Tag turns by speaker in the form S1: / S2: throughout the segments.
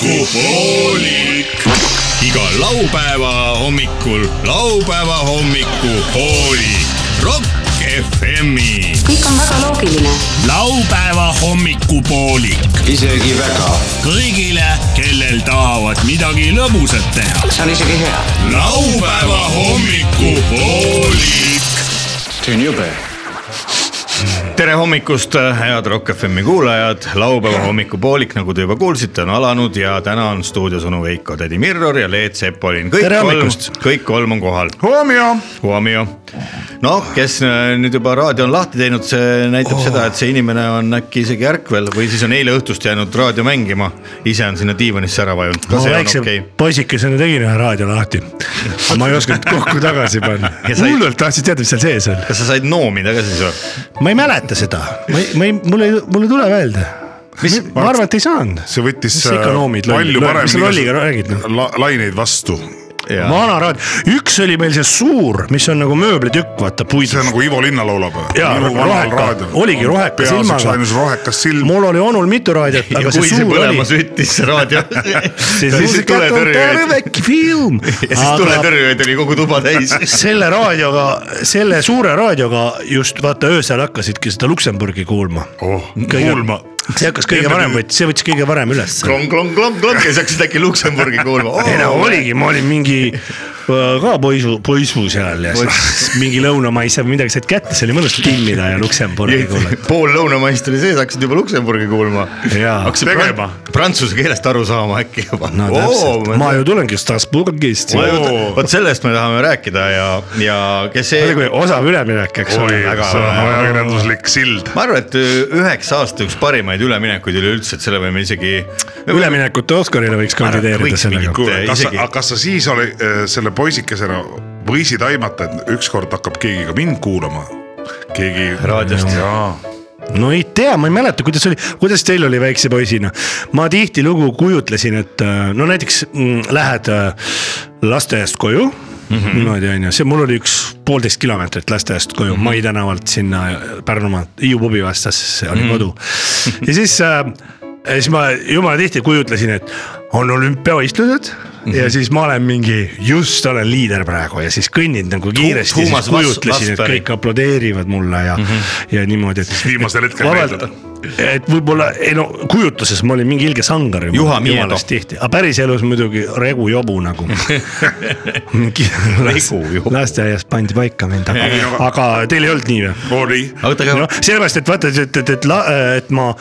S1: hommikupoolik . iga laupäeva hommikul laupäeva hommikupoolik . Rock FM-i .
S2: kõik on väga loogiline .
S1: laupäeva hommikupoolik
S3: isegi väga .
S1: kõigile , kellel tahavad midagi lõbusat teha .
S3: see on isegi hea .
S1: laupäeva hommikupoolik .
S3: see on jube .
S4: tere hommikust , äh, head Rock FM-i kuulajad , laupäeva hommikupoolik , nagu te juba kuulsite , on alanud ja täna on stuudios onu Veiko , tädi Mirror ja Leet Sepolin . kõik
S5: Tere
S4: kolm
S5: hommikust! ,
S4: kõik kolm on kohal .
S5: Homio .
S4: Huomio . noh , kes äh, nüüd juba raadio on lahti teinud , see näitab oh. seda , et see inimene on äkki isegi ärkvel või siis on eile õhtust jäänud raadio mängima , ise on sinna diivanisse ära vajunud .
S5: ma
S4: ka see on
S5: väikse
S4: okei
S5: okay.
S4: okay.
S5: poisikesena tegin ühe raadio lahti . ma ei osanud kokku tagasi panna
S4: Ja . sai-
S5: hullult tahtsin teada , mis seal sees on .
S4: kas sa said noomida ka siis või ?
S5: ma ei mäleta seda , ma ei , ma ei , mul ei , mul ei tule meelde . mis , ma arvan , et ei saanud .
S6: see võttis
S5: mis sa ikka
S6: äh,
S5: noomid
S6: palju
S5: lolli , mis sa lolliga
S6: paremini
S5: räägid noh ?
S6: la, laineid vastu .
S5: vana raadio , üks oli meil see suur , mis on nagu mööblitükk , vaata
S6: see on
S5: puidust .
S6: nagu Ivo Linna laulapäev .
S5: Jaa, roheka. Oligi roheka
S6: peaasjaks
S5: silmaga.
S6: ainus rohekas silm .
S5: mul oli onul mitu raadiot ,
S4: ja
S5: aga
S4: kui
S5: see
S4: see
S5: suur
S4: põlema
S5: oli .
S4: süttis , see raadio .
S5: siis muusikat on terve film .
S4: ja siis tuletõrjujaid oli kogu tuba täis .
S5: selle raadioga , selle suure raadioga just vaata öösel hakkasidki seda Luksemburgi kuulma .
S6: Oh, kuulma .
S5: see hakkas kõige
S6: Enne
S5: varem
S6: kui- ,
S5: see võttis kõige varem üles .
S4: klong-klong-klong-klong ja siis hakkasid äkki Luksemburgi kuulma
S5: ei no . oligi , ma olin mingi äh, ka poisu , poisu seal ja siis mingi lõunamaise või midagi said kätte , see oli mõnus timmida ja Luksemburgi kuulata .
S4: pool lõunamaist oli sees , hakkasid juba Luksemburgi kuulma .
S5: Jaa.
S4: hakkasid
S6: Tegema.
S4: tegema . prantsuse keelest aru saama äkki juba .
S5: no täpselt , ma ju tulengi Strasbourgist .
S6: Oo.
S4: vot sellest me tahame rääkida ja , ja kes see .
S5: kui osav üleminek , eks
S6: oi
S5: ole ,,
S4: väga
S6: see on
S4: vähe.
S6: ajakirjanduslik sild .
S4: ma arvan , et äh, üheksa aasta üks parimaid üleminekuid üleüldse , et selle võime isegi .
S5: üleminekute Oscarile võiks kandideeerida
S4: võiks mingi
S5: sellega .
S4: kuule,
S6: kas sa
S4: isegi- ,
S6: kas sa siis oli äh, selle poisikesena võisid aimata , et ükskord hakkab keegi ka mind kuulama ? keegi .
S4: Raadiost.
S6: jaa .
S5: no ei tea , ma ei mäleta , kuidas oli , kuidas teil oli väikse poisina . ma tihtilugu kujutlesin , et äh, no näiteks mm, lähed äh, lasteaiast koju mm . -hmm. niimoodi on ju , see mul oli üks poolteist kilomeetrit lasteaiast koju mm -hmm. Mai tänavalt sinna Pärnumaalt , Hiiu pubi vastas oli mm -hmm. kodu . ja siis äh, , siis ma jumala tihti kujutlesin , et on olümpiavõistlused mm . -hmm. ja siis ma olen mingi , just olen liider praegu ja siis kõnnin nagu kiiresti ,
S4: Thomas
S5: siis
S4: Vas-
S5: kujutlesin , et
S4: Vasberg.
S5: kõik aplodeerivad mulle ja mm , -hmm. ja niimoodi , et .
S6: viimasel hetkel
S5: vabalt
S6: meeldib. ,
S5: et võib-olla , ei no kujutluses ma olin mingi ilge sangar .
S4: Juha Miedo.
S5: tihti , aga päriselus muidugi regu jobu nagu .
S4: Regu jobu.
S5: lasteaias pandi paika mind , aga
S6: Ei, , aga-
S5: aga teil ei olnud nii või ?
S6: oli .
S4: oota , aga
S5: noh , sellepärast , et vaata , et , et , et , et ma ,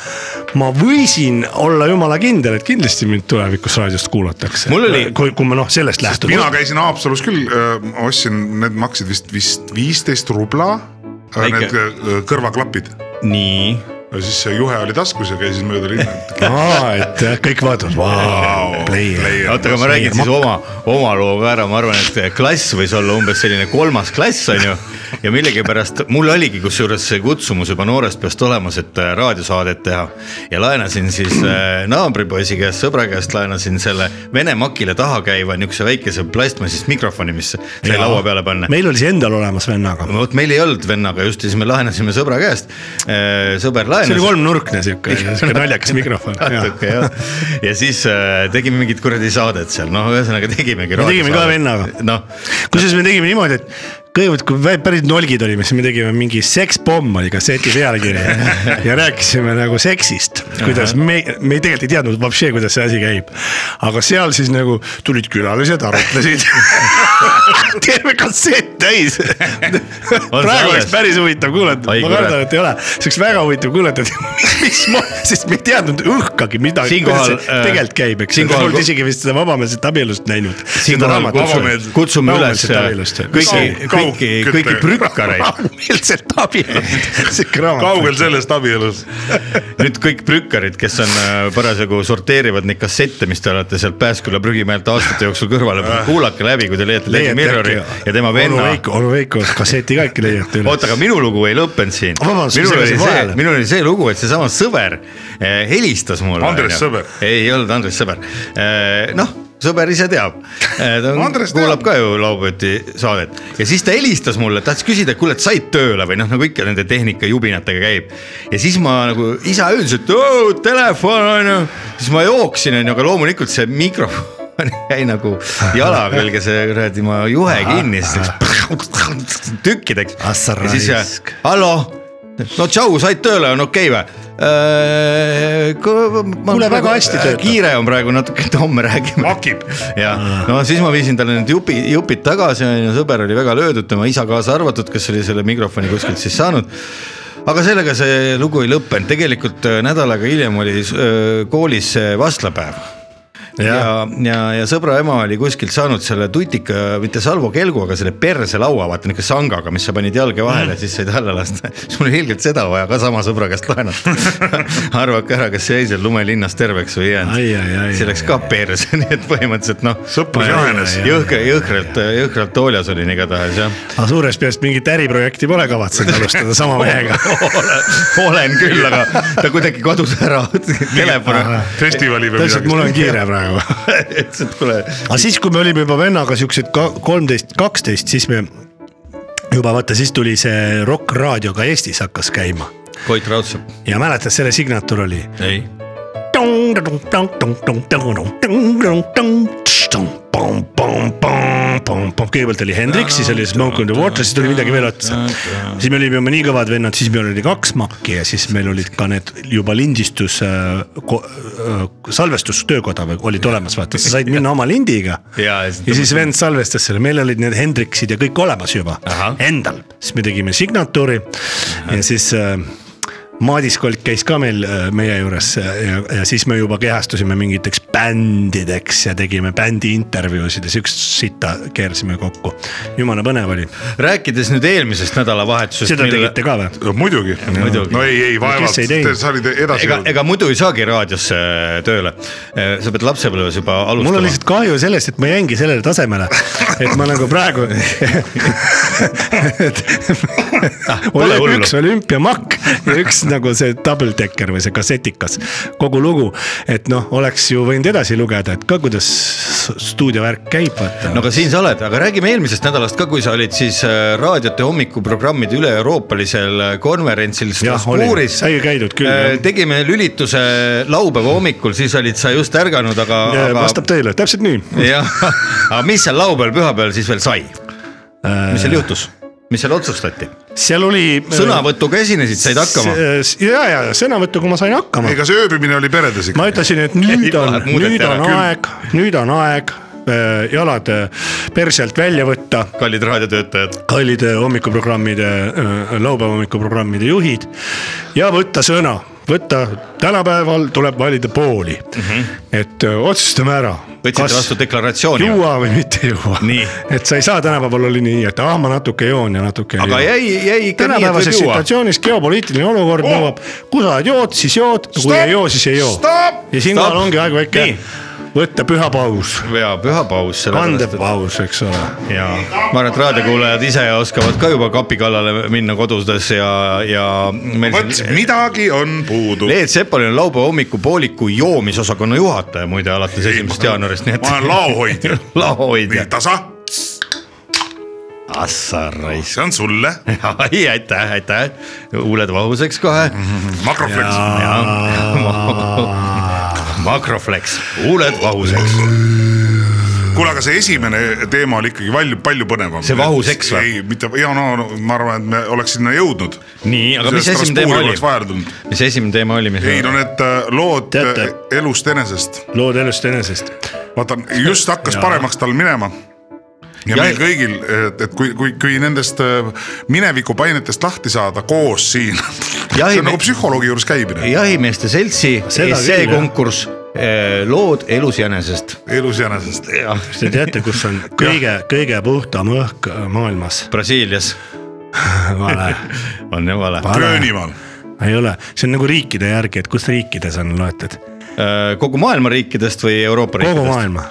S5: ma võisin olla jumala kindel , et kindlasti mind tulevikus raadiost kuulatakse .
S4: Mul oli-
S5: kui , kui ma noh , sellest lähtun .
S6: mina käisin Haapsalus küll , ostsin , need maksid vist , vist viisteist rubla .
S4: Väike.
S6: Need äh, kõrvaklapid
S4: nii .
S6: ja siis see juhe oli taskus ja käisin mööda linna .
S5: aa , et kõik vaatavad , vau , player .
S4: oota , aga ma räägin siis oma , oma loo ka ära , ma arvan , et klass võis olla umbes selline kolmas klass on ju . ja millegipärast mul oligi kusjuures see kutsumus juba noorest peast olemas , et äh, raadiosaadet teha . ja laenasin siis äh, naabripoisi käest , sõbra käest laenasin selle Vene makile taha käiva niukse väikese plastmassist mikrofoni , mis sai laua peale panna .
S5: meil oli see endal olemas vennaga .
S4: No vot meil ei olnud vennaga just ja siis me laenasime sõbra käest . sõber laenas .
S5: see oli kolmnurkne sihuke , sihuke naljakas mikrofon .
S4: natuke jah , ja siis äh, tegime mingit kuradi saadet seal , noh , ühesõnaga tegimegi .
S5: Me tegime ka vennaga.
S4: noh ,
S5: kusjuures me tegime niimoodi , et kõigepealt , kui vä- päris nolgid olime , siis me tegime mingi sekspomm oli kasseti pealkiri ja rääkisime nagu seksist , kuidas me , me ei- tegelikult ei teadnud vapšee , kuidas see asi käib . aga seal siis nagu tulid külalised , arutlesid . teeme kassett täis . praegu oleks
S4: alles?
S5: päris huvitav kuulata ,
S4: Oi,
S5: ma
S4: kurat.
S5: kardan , et ei ole , see oleks väga huvitav kuulata , et mis ma , sest me ei teadnud õhkagi , mida
S4: Siinkohal,
S5: kuidas see
S4: äh,
S5: tegelikult käib , eks ole ,
S4: siinkohal-
S5: polnud isegi vist seda vabameelset abielust näinud .
S4: siinkohal kutsume, kutsume üles
S5: Rahumeelset abielust.
S4: äh, kõiki ,
S6: Kaug-
S4: kõiki , kõiki
S6: kaugkütte.
S4: prükkareid ,
S5: rahumeelselt abielust , sihuke raamat .
S6: kaugel sellest abielust .
S4: nüüd kõik prükkarid , kes on äh, parasjagu sorteerivad neid kassette , mis te olete sealt Pääsküla prügimäelt aastate jooksul kõrvale
S5: Äh.
S4: pannud , kuulake läbi , kui te leiate Lady Mirrori ja tema venna .
S5: onu Veiko kasseti ka ikka leiate üles .
S4: oota , aga minu lugu ei lõppenud siin .
S5: Vabandust,
S4: minul
S5: ma
S4: oli see
S5: segasin vahele. ,
S4: minul oli see lugu , et seesama sõber eh, helistas mulle .
S6: Andres Sõber.
S4: ei olnud Andres Sõber . noh , sõber ise teab . ta on,
S6: Andres teab.
S4: kuulab ka ju laupäeviti saadet ja siis ta helistas mulle , tahtis küsida , et kuule , et said tööle või noh , nagu ikka nende tehnikajubinatega käib . ja siis ma nagu isa ütles , et oo, telefon on ju , siis ma jooksin , on ju , aga loomulikult see mikrofon jäi nagu jala külge see kuradi ma juhe kinni , siis läks tükkideks .
S5: Ah sa
S4: ja siis äh,
S5: raisk. ,
S4: hallo , no tšau , said tööle , on okei Äh, okay, või ?
S5: Kuule, väga hästi töötab.
S4: äh, kiire on praegu natuke , et homme räägime . hakib . ja no siis ma viisin talle need jupi , jupid tagasi , onju , sõber oli väga löödud , tema isa kaasa arvatud , kes oli selle mikrofoni kuskilt siis saanud aga sellega see lugu ei lõppenud , tegelikult öö, nädal aega hiljem oli öö, koolis see vastlapäev ja , ja , ja sõbra ema oli kuskilt saanud selle tutika , mitte salvokelgu , aga selle perselaua , vaata nihuke sangaga , mis sa panid jalge vahele , siis said alla lasta . siis mul oli ilgelt seda vaja ka sama sõbra käest laenata . arvake ära , kas see jäi seal lumelinnas terveks või ei
S5: Ai, ai, ai,
S4: jäänud . see läks ka perse , nii et põhimõtteliselt noh .
S6: Sõprus jahenes.
S4: jõhk- , jõhkralt , jõhkralt tooljas olin igatahes jah .
S5: aga suurest peast mingit äriprojekti pole kavatsenud alustada sama mehega .
S4: olen küll , aga ta kuidagi kadus ära , telefon .
S6: festivali või
S5: ta ütles , et mul on
S6: midagi .
S5: kiire praegu .
S4: ütles , et kuule
S5: aga siis , kui me olime juba vennaga siuksed ka- kolmteist , kaksteist , siis me juba vaata , siis tuli see Rock Raadio ka Eestis hakkas käima
S4: Koit Raudsepp .
S5: ja mäletad , selle signatuur oli .
S4: ei .
S5: kõigepealt oli Hendrik , siis oli Smoke on the Water , siis tuli midagi veel otsa . siis me olime juba nii kõvad vennad , siis meil oli kaks makki ja siis meil olid ka need juba lindistus , salvestustöökoda või- olid olemas , vaata , sa said minna oma lindiga .
S4: Jaa,
S5: ja
S4: ja siis
S5: siis vend salvestas selle , meil olid need Hendriksid ja kõik olemas juba
S4: Ahah.
S5: endal , siis me tegime signatuuri ja siis äh, Madis Kolk käis ka meil äh, meie juures ja, ja, ja siis me juba kehastusime mingiteks bändideks ja tegime bändi intervjuusid ja siukest sitta keerasime kokku . jumala põnev oli ,
S4: rääkides nüüd eelmisest nädalavahetusest .
S5: seda tegite ka või ?
S6: muidugi ,
S4: Muidugi.
S6: no ei , ei vaevalt
S5: ei , teinud?
S6: sa olid edasi
S4: ega ,
S6: jõudnud .
S4: ega muidu ei saagi raadiosse äh, tööle . sa pead lapsepõlves juba
S5: mul on
S4: alustama .
S5: lihtsalt kahju sellest , et ma jäingi sellele tasemele , et ma nagu praegu .
S4: Ah, pole hullu.
S5: üks olümpiamakk ja üks nagu see double decker või see kassetikas , kogu lugu . et noh , oleks ju võinud edasi lugeda , et ka kuidas stuudiovärk käib , vaata
S4: no aga siin sa oled , aga räägime eelmisest nädalast ka , kui sa olid siis äh, raadiote hommikuprogrammide üle-euroopalisel äh, konverentsil
S5: Jah, olin.
S4: Strasbourgis .
S5: sai käidud küll, jah.
S4: tegime lülituse laupäeva hommikul , siis olid sa just ärganud , aga ,
S5: Ja
S4: aga .
S5: vastab tõele , täpselt nii .
S4: jah , aga mis seal laupäeval , pühapäeval siis veel sai ? mis seal juhtus , mis seal otsustati ?
S5: Äh, seal oli .
S4: sõnavõtuga esinesid , said hakkama ?
S5: ja , ja sõnavõtuga ma sain hakkama .
S6: ega see ööbimine oli peredes ikka
S5: ma . ütlesin , et nüüd
S4: Ei,
S5: on ,
S4: vahet muudeti
S5: nüüd
S4: ära
S5: on
S4: küll.
S5: aeg , nüüd on aeg äh, jalad äh, perselt välja võtta
S4: kallid raadiotöötajad .
S5: kallid äh, hommikuprogrammide , laupäeva hommikuprogrammide juhid ja võtta sõna , võtta , tänapäeval tuleb valida pooli mm . -hmm. et öö, otsustame ära .
S4: Mhm. Võtsite vastu deklaratsiooni või?
S5: juua või mitte juua
S4: Nii. .
S5: et sa ei saa tänapäeval oli nii , et ah , ma natuke joon ja natuke ei
S4: aga
S5: joo.
S4: jäi , jäi ikka nii , et
S5: tänapäevases
S4: võib juua .
S5: situatsioonis geopoliitiline olukord oh. nõuab , kui sa jood , siis jood , kui
S6: Stopp!
S5: ei joo , siis ei joo .
S6: Stopp!
S5: ja siinkohal
S4: Stopp!
S5: ongi aeg väike
S4: Nii.
S5: võtta püha paus ,
S4: ja pühapaus .
S5: kandepaus , eks ole .
S4: ja ma arvan , et raadiokuulajad ise oskavad ka juba kapi kallale minna kodudes ja , ja meil
S6: vot
S4: siin .
S6: midagi on puudu .
S4: Leet Sepolin on laupäeva hommikupooliku joomisosakonna juhataja muide alates esimesest jaanuarist , nii et .
S6: ma olen laohoidja .
S4: laohoidja
S6: nii , tasa ,
S4: ah sa raisk .
S6: see on sulle ,
S4: ai , aitäh , aitäh , huuled vahuseks kohe mm . -hmm.
S6: makrofleks .
S4: makroflex , huuled vahuseks .
S6: kuule , aga see esimene teema oli ikkagi palju , palju põnevam .
S4: See vahuseks või?
S6: ei , mitte , ja no, no ma arvan , et me oleks sinna jõudnud .
S4: nii , aga mis esimene teema oli ? mis esimene teema oli , mis ?
S6: ei no need äh, lood
S5: Teate-
S6: äh, elust enesest ,
S5: lood elust enesest .
S6: vaata just hakkas paremaks tal minema . ja
S4: Ja-
S6: meil kõigil , et et kui , kui , kui nendest äh, minevikupainetest lahti saada koos siin . see
S4: Jahi-
S6: on nagu psühholoogi juures käimine ,
S4: jahimeeste seltsi
S5: Seda
S4: essee
S5: küll, jah.
S4: konkurss eh, Lood elus jänesest .
S6: elus enesest .
S5: Te teate , kus on kõige , kõige puhtam õhk maailmas ?
S4: Brasiilias
S5: vale ,
S4: on ju vale .
S6: Gröönimaal ,
S5: ei ole , see on nagu riikide järgi , et kus riikides on loetud ,
S4: Äh, kogu maailma riikidest või Euroopa
S5: kogu
S4: riikidest ?
S5: maailma .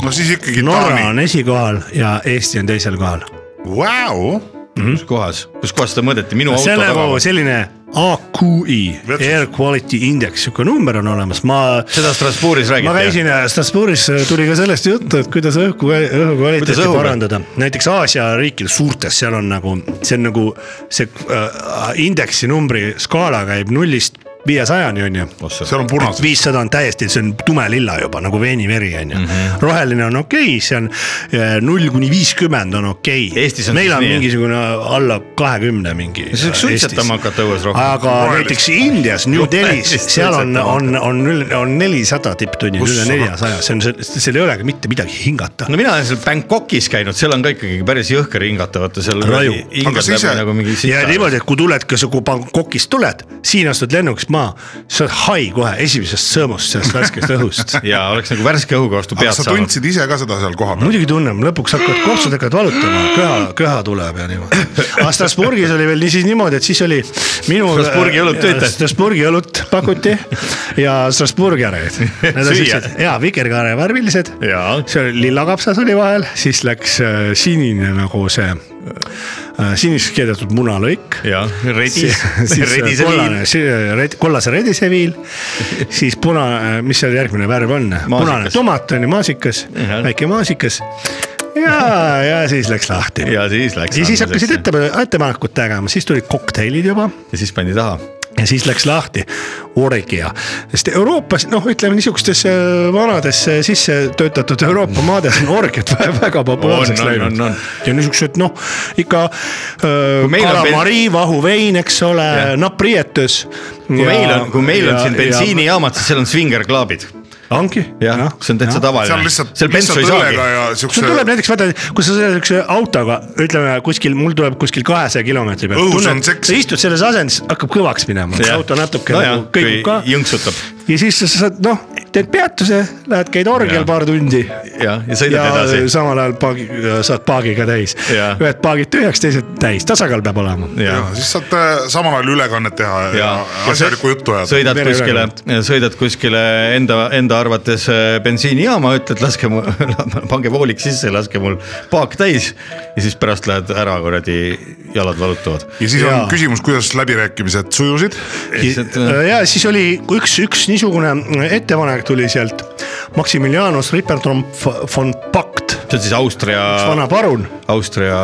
S6: no siis ikkagi
S5: Norra
S6: Taani ,
S5: on esikohal ja Eesti on teisel kohal .
S6: vau ,
S4: kus kohas , kus kohas seda mõõdeti , minu auto
S5: selle
S4: taga
S5: kogu ? selline AQI ,
S6: Vetsus.
S5: Air Quality Index , sihuke number on olemas , ma .
S4: seda Strasbourgis
S5: ma
S4: räägiti .
S5: käisin äh, Strasbourgis , tuli ka sellest juttu , et kuidas õhku , õhu
S4: Kuidas
S5: kvaliteeti
S4: õhu-
S5: parandada . näiteks Aasia riikides suurtes , seal on nagu , see on nagu see äh, indeksi numbri skaala käib nullist viiesajani on ju
S6: seal on punased .
S5: viissada on täiesti , see on tume lilla juba nagu veeniveri on ju ,
S4: Mhm.
S5: roheline on okei okay, , see on eh, null kuni viiskümmend on okei
S4: Eestis
S5: okay. .
S4: on
S5: meil
S4: siis
S5: on
S4: nii, jah?
S5: mingisugune alla kahekümne mingi .
S4: see võiks suitsetama hakata õues rohkem .
S5: aga
S6: Rohelist.
S5: näiteks Indias , New Delhis ,
S4: Rohelist
S5: seal on ,
S4: suitsetama
S5: on , on , on nelisada tipptunnid , üle
S6: Ussa.
S5: neljasaja , see on , seal ei olegi mitte midagi hingata .
S4: no mina olen seal Bangkokis käinud , seal on ka ikkagi päris jõhker hingata , vaata seal .
S5: Raju.
S6: Aga sa ise-
S4: nagu mingi
S5: ja
S4: sita .
S5: niimoodi , et kui tuled , kui sa kui Bangkokist tuled , siin astud lennukist maha , sa oled hai kohe esimesest sõõmust , sellest värskest õhust
S4: ja oleks nagu värske õhuga vastu
S6: aga
S4: pead
S6: sa
S4: saanud .
S6: tundsid ise ka seda seal kohapeal ?
S5: muidugi tunnen , lõpuks hakkavad kopsud hakkavad valutama , köha , köha tuleb ja niimoodi . aga Strasbourgis oli veel niisiis niimoodi , et siis oli minu .
S4: Strasbourgi õlut töötas.
S5: Strasbourgi õlut pakuti ja Strasbourgi areid . Need on
S4: Süüa.
S5: siuksed ja vikerkaare värvilised .
S4: Jaa.
S5: see oli lilla kapsas oli vahel , siis läks äh, sinine nagu see äh, siniseks keedetud munalõik
S4: jah , redis
S5: siis , siis äh,
S4: redise
S5: kollane äh,
S4: viin .,
S5: red, kollase redise viil , siis punane , mis seal järgmine värv on , punane tomat on ju , maasikas ,
S4: Jah.
S5: väike maasikas . ja , ja siis läks lahti .
S4: ja siis läks .
S5: ja siis hakkasid . ette , ettepanekut tegema , siis tulid kokteilid juba
S4: ja siis pandi taha .
S5: ja siis läks lahti orgia , sest Euroopas noh , ütleme niisugustes äh, vanades äh, sisse töötatud Euroopa maades on orgiad vä- väga populaarseks
S4: On, on,
S5: läinud
S4: on, on. .
S5: ja niisugused noh , ikka
S4: meil on
S5: kalamarii , vahuvein , eks ole
S4: Jah. ,
S5: naprietus .
S4: kui meil on , kui meil on siin . bensiinijaamad , siis seal on svingerklaabid .
S5: ongi .
S4: jah , see on täitsa
S6: seal
S4: tavaline .
S6: lihtsalt ,
S4: seal
S6: lihtsalt
S4: bensu ei saagi
S6: õllega . ja
S5: sul
S6: siukse
S5: Noh, tuleb näiteks vaata , kui sa sõidad siukse autoga , ütleme kuskil , mul tuleb kuskil kahesaja kilomeetri peal .
S6: Õhus on seks.
S5: sa istud selles asendis , hakkab kõvaks minema , auto natuke no nagu kõigub ka .
S4: jõnksutab
S5: ja siis sa saad noh , teed peatuse , lähed käid orgial
S4: Jah.
S5: paar tundi .
S4: jah , ja
S5: ja
S4: sõidad edasi .
S5: samal ajal paagi , saad paagi ka täis .
S4: Jah.
S5: ühed paagid tühjaks , teised täis , tasakaal peab olema .
S6: ja
S4: jah ,
S6: siis saad äh, samal ajal ülekannet teha ja, ja asjalikku juttu ajada .
S4: sõidad
S5: Vere
S4: kuskile , sõidad kuskile enda , enda arvates äh, bensiinijaama , ütled , laske mu , pange voolik sisse , laske mul paak täis ja siis pärast lähed ära , kuradi , jalad valutavad .
S6: ja siis
S5: Jaa.
S6: on küsimus , kuidas läbirääkimised sujusid .
S5: ja siis oli üks , üks niisugune ettepanek tuli sealt Maximilianus Rippertromp von Pakt ,
S4: see on siis Austria ,
S5: vana parun
S4: Austria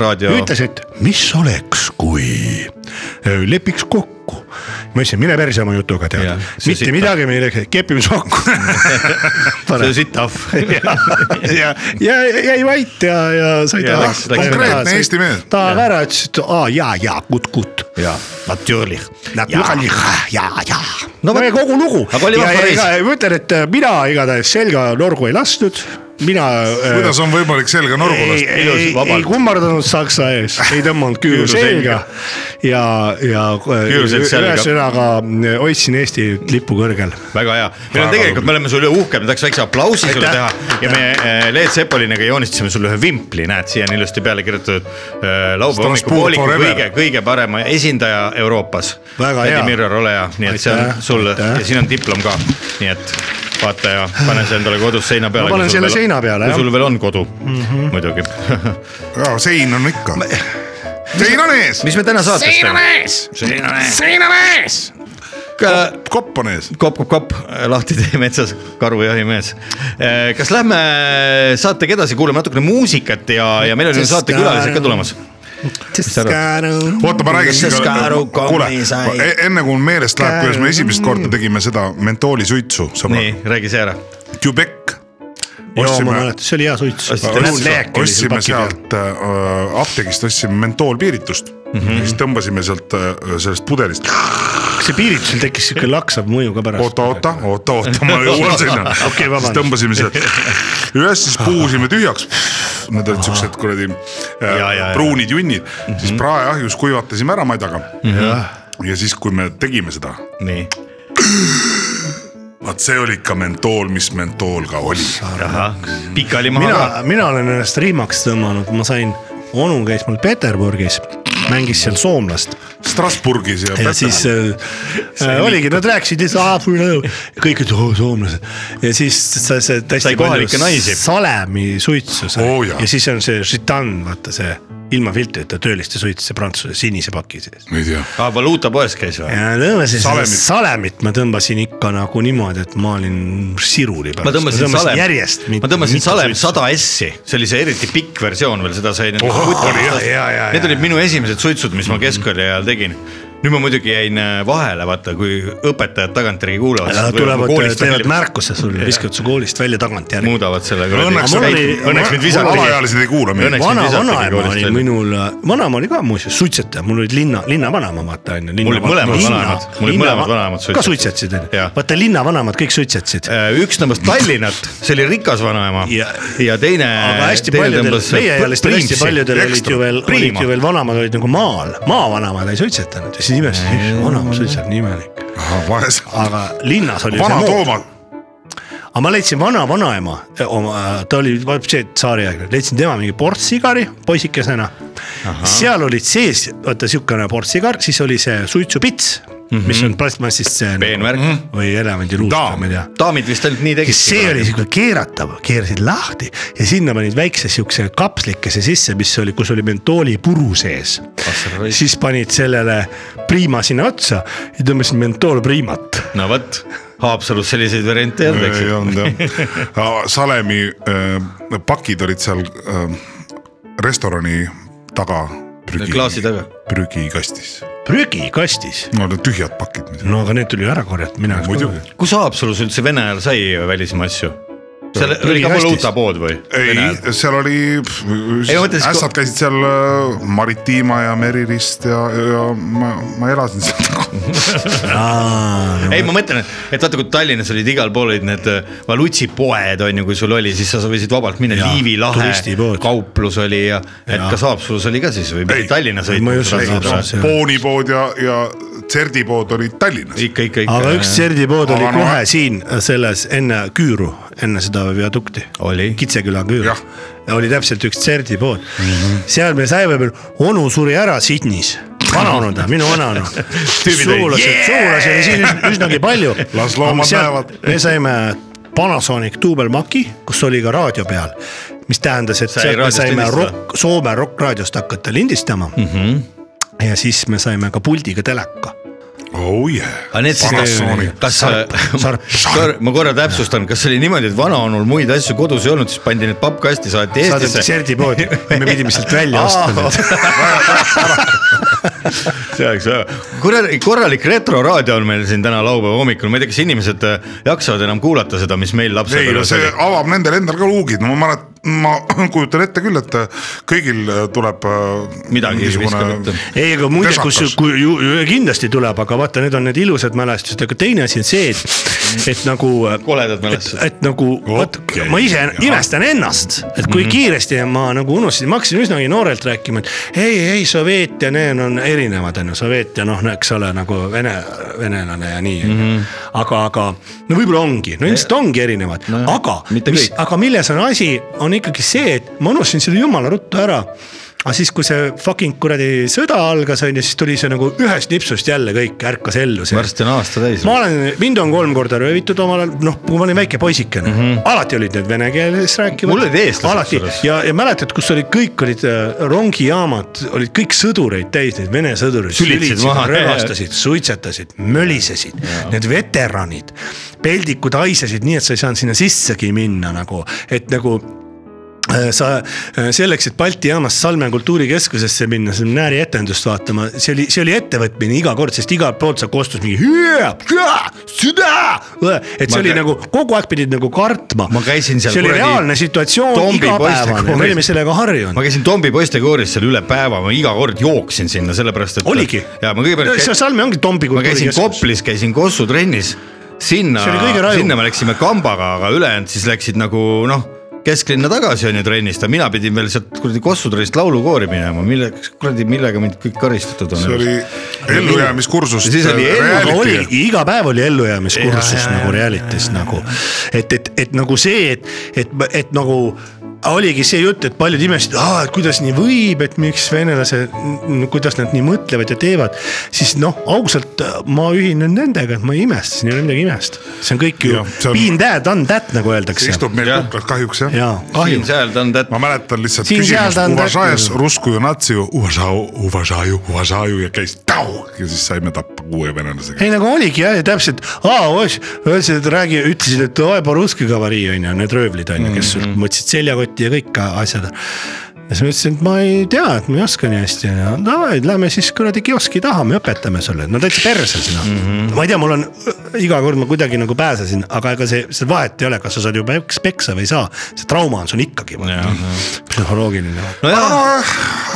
S4: raadio .
S5: ütles , et mis oleks , kui äh, lepiks kokku . ma ütlesin , mine perse oma jutuga tead
S4: Jah, , see
S5: mitte
S4: sita.
S5: midagi me ei tee , kepime sokku .
S4: see on sitt ahv .
S5: ja , ja , ja jäi vait ja , ja sai
S4: Ja
S5: ta
S4: läks- läks
S6: konkreetne Eesti mees.
S5: ta ära ütles , et aa ja , ja gut , gut .
S4: jaa , natürlich .
S5: Naturaalne , ja , ja .
S4: No
S5: no
S4: vot.
S5: me kogu lugu .
S4: Aga oli vahva reis.
S5: ma ütlen , et äh, mina igatahes selga norgu ei lasknud , mina .
S6: kuidas on võimalik selga norgu
S5: ei ,
S6: lasta ?
S5: ei
S4: Ilus, , vabalt.
S5: ei kummardanud saksa ees , ei tõmmanud küüru
S4: Küüru selga.
S5: selga ja , ja äh,
S4: Küüruselt selga.
S5: ühesõnaga äh, hoidsin Eesti lipu kõrgel .
S4: väga hea , meil on tegelikult , me oleme sulle uhked , me tahaks väikse aplausi sulle teha
S5: Aitäh.
S4: ja me äh, Leet Sepolinaga joonistasime sulle ühe vimpli , näed , siia on ilusti peale kirjutatud äh, laupäeva
S6: Strasbourg
S4: hommikupooliku
S6: forever.
S4: kõige , kõige parema esindaja Euroopas .
S5: Väga hea.
S4: Vladimir Oleja , nii et see on
S5: Aitäh,
S4: sulle
S5: aitäh.
S4: ja siin on diplom ka , nii et vaata ja pane see endale kodus seina peale .
S5: Ma panen selle seina peale,
S4: jah . kui
S5: jah. Mhm.
S4: sul veel on kodu mm , -hmm. muidugi .
S6: sein on ikka . sein on ees ,
S4: mis me täna saates teeme ?
S6: kopp on ees .
S4: kopp , kopp , kopp , lahti tee metsas , karujahimees . Äh, kas lähme saatega edasi , kuulame natukene muusikat ja , ja meil on ju saatekülalised ka tulemas .
S6: oota , ma räägiks
S4: Sest ka aru,
S6: ikka , kuule e-
S4: kommi sai. ,
S6: enne kui mul meelest läheb , kuidas me esimest korda tegime seda mentoolisuitsu ,
S4: nii
S6: sõbrad ,,
S4: räägi see ära .
S6: Quebec .
S5: joo , ma mäletan , see oli hea suits .
S4: Ostsime-
S6: ostsime sealt äh, apteegist , ostsime mentoolpiiritust mm , -hmm. siis tõmbasime sealt äh, sellest pudelist .
S5: see piiritusel tekkis siuke laksav mõju ka pärast .
S6: oota , oota , oota , oota , ma jõuan sinna .
S5: Okei,
S6: siis
S5: vabandust.
S6: tõmbasime sealt üles , siis puhusime tühjaks . Need olid siuksed kuradi äh,
S4: Ja, ja, ja.
S6: pruunid junnid , siis praeahjus kuivatasime ära madjaga . ja siis , kui me tegime seda ,
S4: nii ,
S6: vaat see oli ikka mentool , mis mentool ka oli .
S4: ahah , pikali maha ka .
S5: mina , mina olen ennast rihmaks tõmmanud , ma sain , onu käis mul Peterburgis , mängis seal soomlast
S6: Strasbourgis ja,
S5: ja siis äh, oligi , nad rääkisid lihtsalt , kõik olid oo soomlased ja siis sa see
S4: Sai
S5: täiesti
S4: kohalikke naisi.
S5: salemi suitsu sai
S6: Oo
S5: oh,
S6: jaa.
S5: ja siis on see šitan , vaata see ilma filtrita tööliste suitsis ja prantsuse sinise paki sees .
S6: ma ei tea .
S4: aa , valuutapoes käis või ?
S5: ja tõmbasin seda
S6: Salemit.
S5: salemit ma tõmbasin ikka nagu niimoodi , et ma olin siruli pärast .
S4: ma tõmbasin salem ,
S5: järjest .
S4: ma tõmbasin salem sada S-i , see oli see eriti pikk versioon veel , seda sai nüüd .
S5: ja , ja ,
S4: Need olid minu esimesed suitsud , mis ma keskkooli ajal tegin . nüüd ma muidugi jäin äh, vahele , vaata , kui õpetajad tagantjärgi kuulavad .
S5: Nad tulevad , teevad märkuse sulle , viskavad su koolist välja tagantjärgi .
S4: muudavad selle .
S6: Õnneks-
S4: õnneks mind visati .
S6: alaealised ei kuula meid.
S4: õnneks mind
S5: vana ,
S4: visatigi
S5: vanaema oli
S4: koolist välja .
S5: minul , vanaema oli ka muuseas suitsetaja , mul olid linna , linnavanaema vaata onju .
S4: Mul olid mõlemad vanaemad, mul olid mõlemad vanaemad
S5: ka
S4: suitsetasid.
S5: suitsetasid onju
S4: Jah. ,
S5: vaata linnavanaemad kõik suitsetasid .
S4: Äh, üks tõmbas Tallinnat , see oli rikas vanaema
S5: Ja-
S4: ja, ja teine .
S5: aga hästi paljudel , meieealistel hästi paljudel olid ju veel , olid ju veel vanemad olid nagu maal , maavanaemad ei suitsetanud ja siis imestasid , vanaema suitsetab , nii imelik .
S6: vaese ,
S5: aga linnas oli
S6: vana
S5: see mood.
S6: Toomas ,
S5: aga ma leidsin vana vanaema , ta oli vaat see tsaariaegne , leidsin tema mingi portsigari poisikesena . seal olid sees , vaata siukene portsigar , siis oli see suitsupits mm , -hmm. mis on plastmassist see .
S4: peenvärk ,
S5: või elevandiluust
S6: Daam.
S5: või ma ei tea .
S4: daamid vist ainult nii
S5: ja
S4: tegid .
S5: see oli siuke keeratav , keerasid lahti ja sinna panid väikse siukse kapslikese sisse , mis oli , kus oli mentoolipuru sees . siis panid sellele priima sinna otsa ja tõmbasid mentoolpriimat .
S4: no vot , Haapsalus selliseid variante ei olnud , eks
S6: ei
S4: ju .
S6: olnud jah , salemi äh, pakid olid seal äh, restorani taga prügi ,
S4: klaasi taga .
S6: prügikastis ,
S5: prügikastis ,
S6: no need tühjad pakid muidugi .
S5: no aga need tuli ju ära korjata , mina .
S6: Muidugi.
S4: kus Haapsalus üldse Vene ajal sai välismaa asju ? seal
S5: Prügikastis.
S4: oli ka valuutapood või ?
S6: ei , seal oli ,
S4: Ei, ma mõtlesin,
S6: ässad käisid seal äh, Maritiima ja Merilist ja , ja ma , ma elasin seal .
S4: ei ,
S5: Noh,
S4: ma mõtlen , et vaata , kui Tallinnas olid igal pool olid need äh, valutsipoed on ju , kui sul oli , siis sa võisid vabalt minna ,
S5: Jaa,
S4: Liivi lahe
S5: turistipood.
S4: kauplus oli ja , et
S5: Jaa.
S4: kas Haapsalus oli ka siis või
S6: Ei,
S4: pidi Tallinnas
S5: ma ei usu, et
S4: olema
S5: Haapsalus- ? see-
S6: poonipood ja , ja tserdipood olid Tallinnas .
S4: ikka , ikka , ikka .
S5: aga üks serdipood oli
S6: Aga no-
S5: kohe siin selles enne küüru , enne seda viadukti .
S4: Oli.
S5: Kitseküla küür
S6: Jah. .
S5: oli täpselt üks serdipood mm . -hmm. seal me saime veel , onu suri ära Sydneys , vanaonu ta , minu vanaonu .
S4: Tüübid olid,
S5: sugulased , sugulasi oli siin üs- üsnagi palju .
S6: Las loomad näevad.
S5: me saime Panasonic duubelmaki , kus oli ka raadio peal , mis tähendas , et
S4: Sai
S5: sealt me
S4: raadiost
S5: saime
S4: lindistada.
S5: rokk , Soome rokkraadiost hakata lindistama mm . -hmm. ja siis me saime ka puldiga teleka
S6: oh yeah ,
S4: aga need siis
S6: Panasonic ,,
S4: kas ,
S5: Sarp.
S4: ma korra täpsustan , kas oli niimoodi , et vanaonul muid asju kodus ei olnud , siis pandi need pappkasti , saati
S5: saadeti
S4: Eestisse .
S5: serdipoodi , me pidime sealt välja ostma .
S4: see oleks väga , korralik , korralik retroraadio on meil siin täna laupäeva hommikul , ma ei tea , kas inimesed äh, jaksavad enam kuulata seda , mis meil
S6: ei no
S4: lapsepõlves
S6: see
S4: oli .
S6: avab nendel endal ka luugid , no ma mälet- , ma kujutan ette küll , et äh, kõigil tuleb äh,
S4: Midagi viskab ette.
S5: ei , aga muide , kus
S6: Pesakas. ,
S5: kui ju, ju, kindlasti tuleb , aga vaata , need on need ilusad mälestused , aga teine asi on see , et , et nagu .
S4: Koledad mälestused.
S5: et nagu , vot
S6: Okei,
S5: ma ise
S6: jaa.
S5: imestan ennast , et kui mm -hmm. kiiresti ma nagu unustasin , ma hakkasin üsnagi noorelt rääkima , et ei , ei Sovet ja need on erinevad , on ju , Sovet ja noh , eks ole , nagu vene , venelane ja nii mm . -hmm. aga , aga no võib-olla ongi , no ilmselt ongi erinevad no ,
S4: Nojah,
S5: aga
S4: mitte
S5: mis
S4: kõik. ,
S5: aga milles on asi , on ikkagi see , et ma unustasin selle jumala ruttu ära . aga siis , kui see fucking kuradi sõda algas , on ju , siis tuli see nagu ühest nipsust jälle kõik ärkas ellu see .
S4: varsti on aasta täis .
S5: ma olen , mind on kolm korda röövitud omal ajal , noh , kui ma olin väike poisikene mm , -hmm. alati olid need vene keeles
S4: Mhm.
S5: rääkivad .
S4: Mul olid eestlased
S5: alati
S4: kusjuures.
S5: ja , ja mäletad , kus olid kõik olid äh, rongijaamad , olid kõik sõdureid täis , need vene sõdurid .
S4: Sülitsid maha.
S5: röögastasid , suitsetasid , mölisesid , need veteranid , peldikud haisesid nii , et sa ei saanud sinna sissegi minna nagu , et nagu äh, sa äh, selleks , et Balti jaamast Salme kultuurikeskusesse minna , seda näärietendust vaatama , see oli , see oli ettevõtmine iga kord , sest igalt poolt sa kostus mingi hüa, hüa, süda , et see
S4: Ma
S5: ma oli
S4: kä-
S5: nagu kogu aeg pidid nagu kartma .
S4: Ma käisin seal
S5: see oli
S4: kuradi
S5: reaalne situatsioon ,
S4: Tombi
S5: igapäevane ,
S4: poistekoolis.
S5: me olime sellega
S4: ma
S5: harjunud .
S4: käisin Tombi poistekooris seal üle päeva , ma iga kord jooksin sinna , sellepärast et .
S5: oligi
S4: ja ma , kõigepealt käisin ,
S5: seal Salme ongi Tombi
S4: ma käisin
S5: kultuurikeskus .
S4: Koplis , käisin Kossu trennis , sinna
S5: See oli kõige , rajum.
S4: sinna me läksime kambaga , aga ülejäänud siis läksid nagu noh , kesklinna tagasi on ju trennist , aga mina pidin veel sealt kuradi Kossu trennist laulukoori minema , milleks , kuradi , millega mind kõik karistatud on .
S6: see oli , ellujäämiskursust .
S4: Siis oli elu-
S5: aga oli
S6: reality .
S5: iga päev oli ellujäämiskursus
S4: Jah, jah,
S5: nagu
S4: jah,
S5: reality's nagu , et , et , et nagu see , et , et , et nagu oligi see jutt , et paljud imestasid , et kuidas nii võib , et miks venelased , kuidas nad nii mõtlevad ja teevad . siis noh , ausalt ma ühinen nendega , et ma ei imesta , siin ei ole midagi imestada , see on kõik ju
S6: Jah, see on-
S5: been that , done that nagu öeldakse .
S6: istub meil
S4: Jah.
S6: kuklas kahjuks jah .
S5: jaa , kahju .
S4: siin-seal ta on täpselt
S6: ma mäletan lihtsalt
S5: Siin seal
S6: küsimust
S5: ta on
S6: Uvažajas
S5: täpne.
S6: ruskuju natsiju , Uvažaju , Uvažaju , Uvažaju ja käis tau ja siis saime tappa kuue venelasega .
S5: ei nagu oligi jah , täpselt , aa , öeldi , et räägi , ütlesid , et oi , Boruski kavarii on ju , need röövlid on ju , kes sul
S4: Mhm.
S5: mõtlesid seljakotti ja kõik a- asjad . ja siis ma ütlesin , et ma ei tea , et ma ei oska nii hästi , davai , lähme siis kuradi kioski taha , me õpetame sulle , no täitsa perses noh mm .
S4: Mhm.
S5: -hmm. ma ei tea , mul on iga kord ma kuidagi nagu pääsesin , aga ega see , see vahet ei ole , kas sa saad juba peks- peksa või ei saa , see trauma on sul ikkagi . psühholoogiline .
S4: nojah ,
S6: Ah,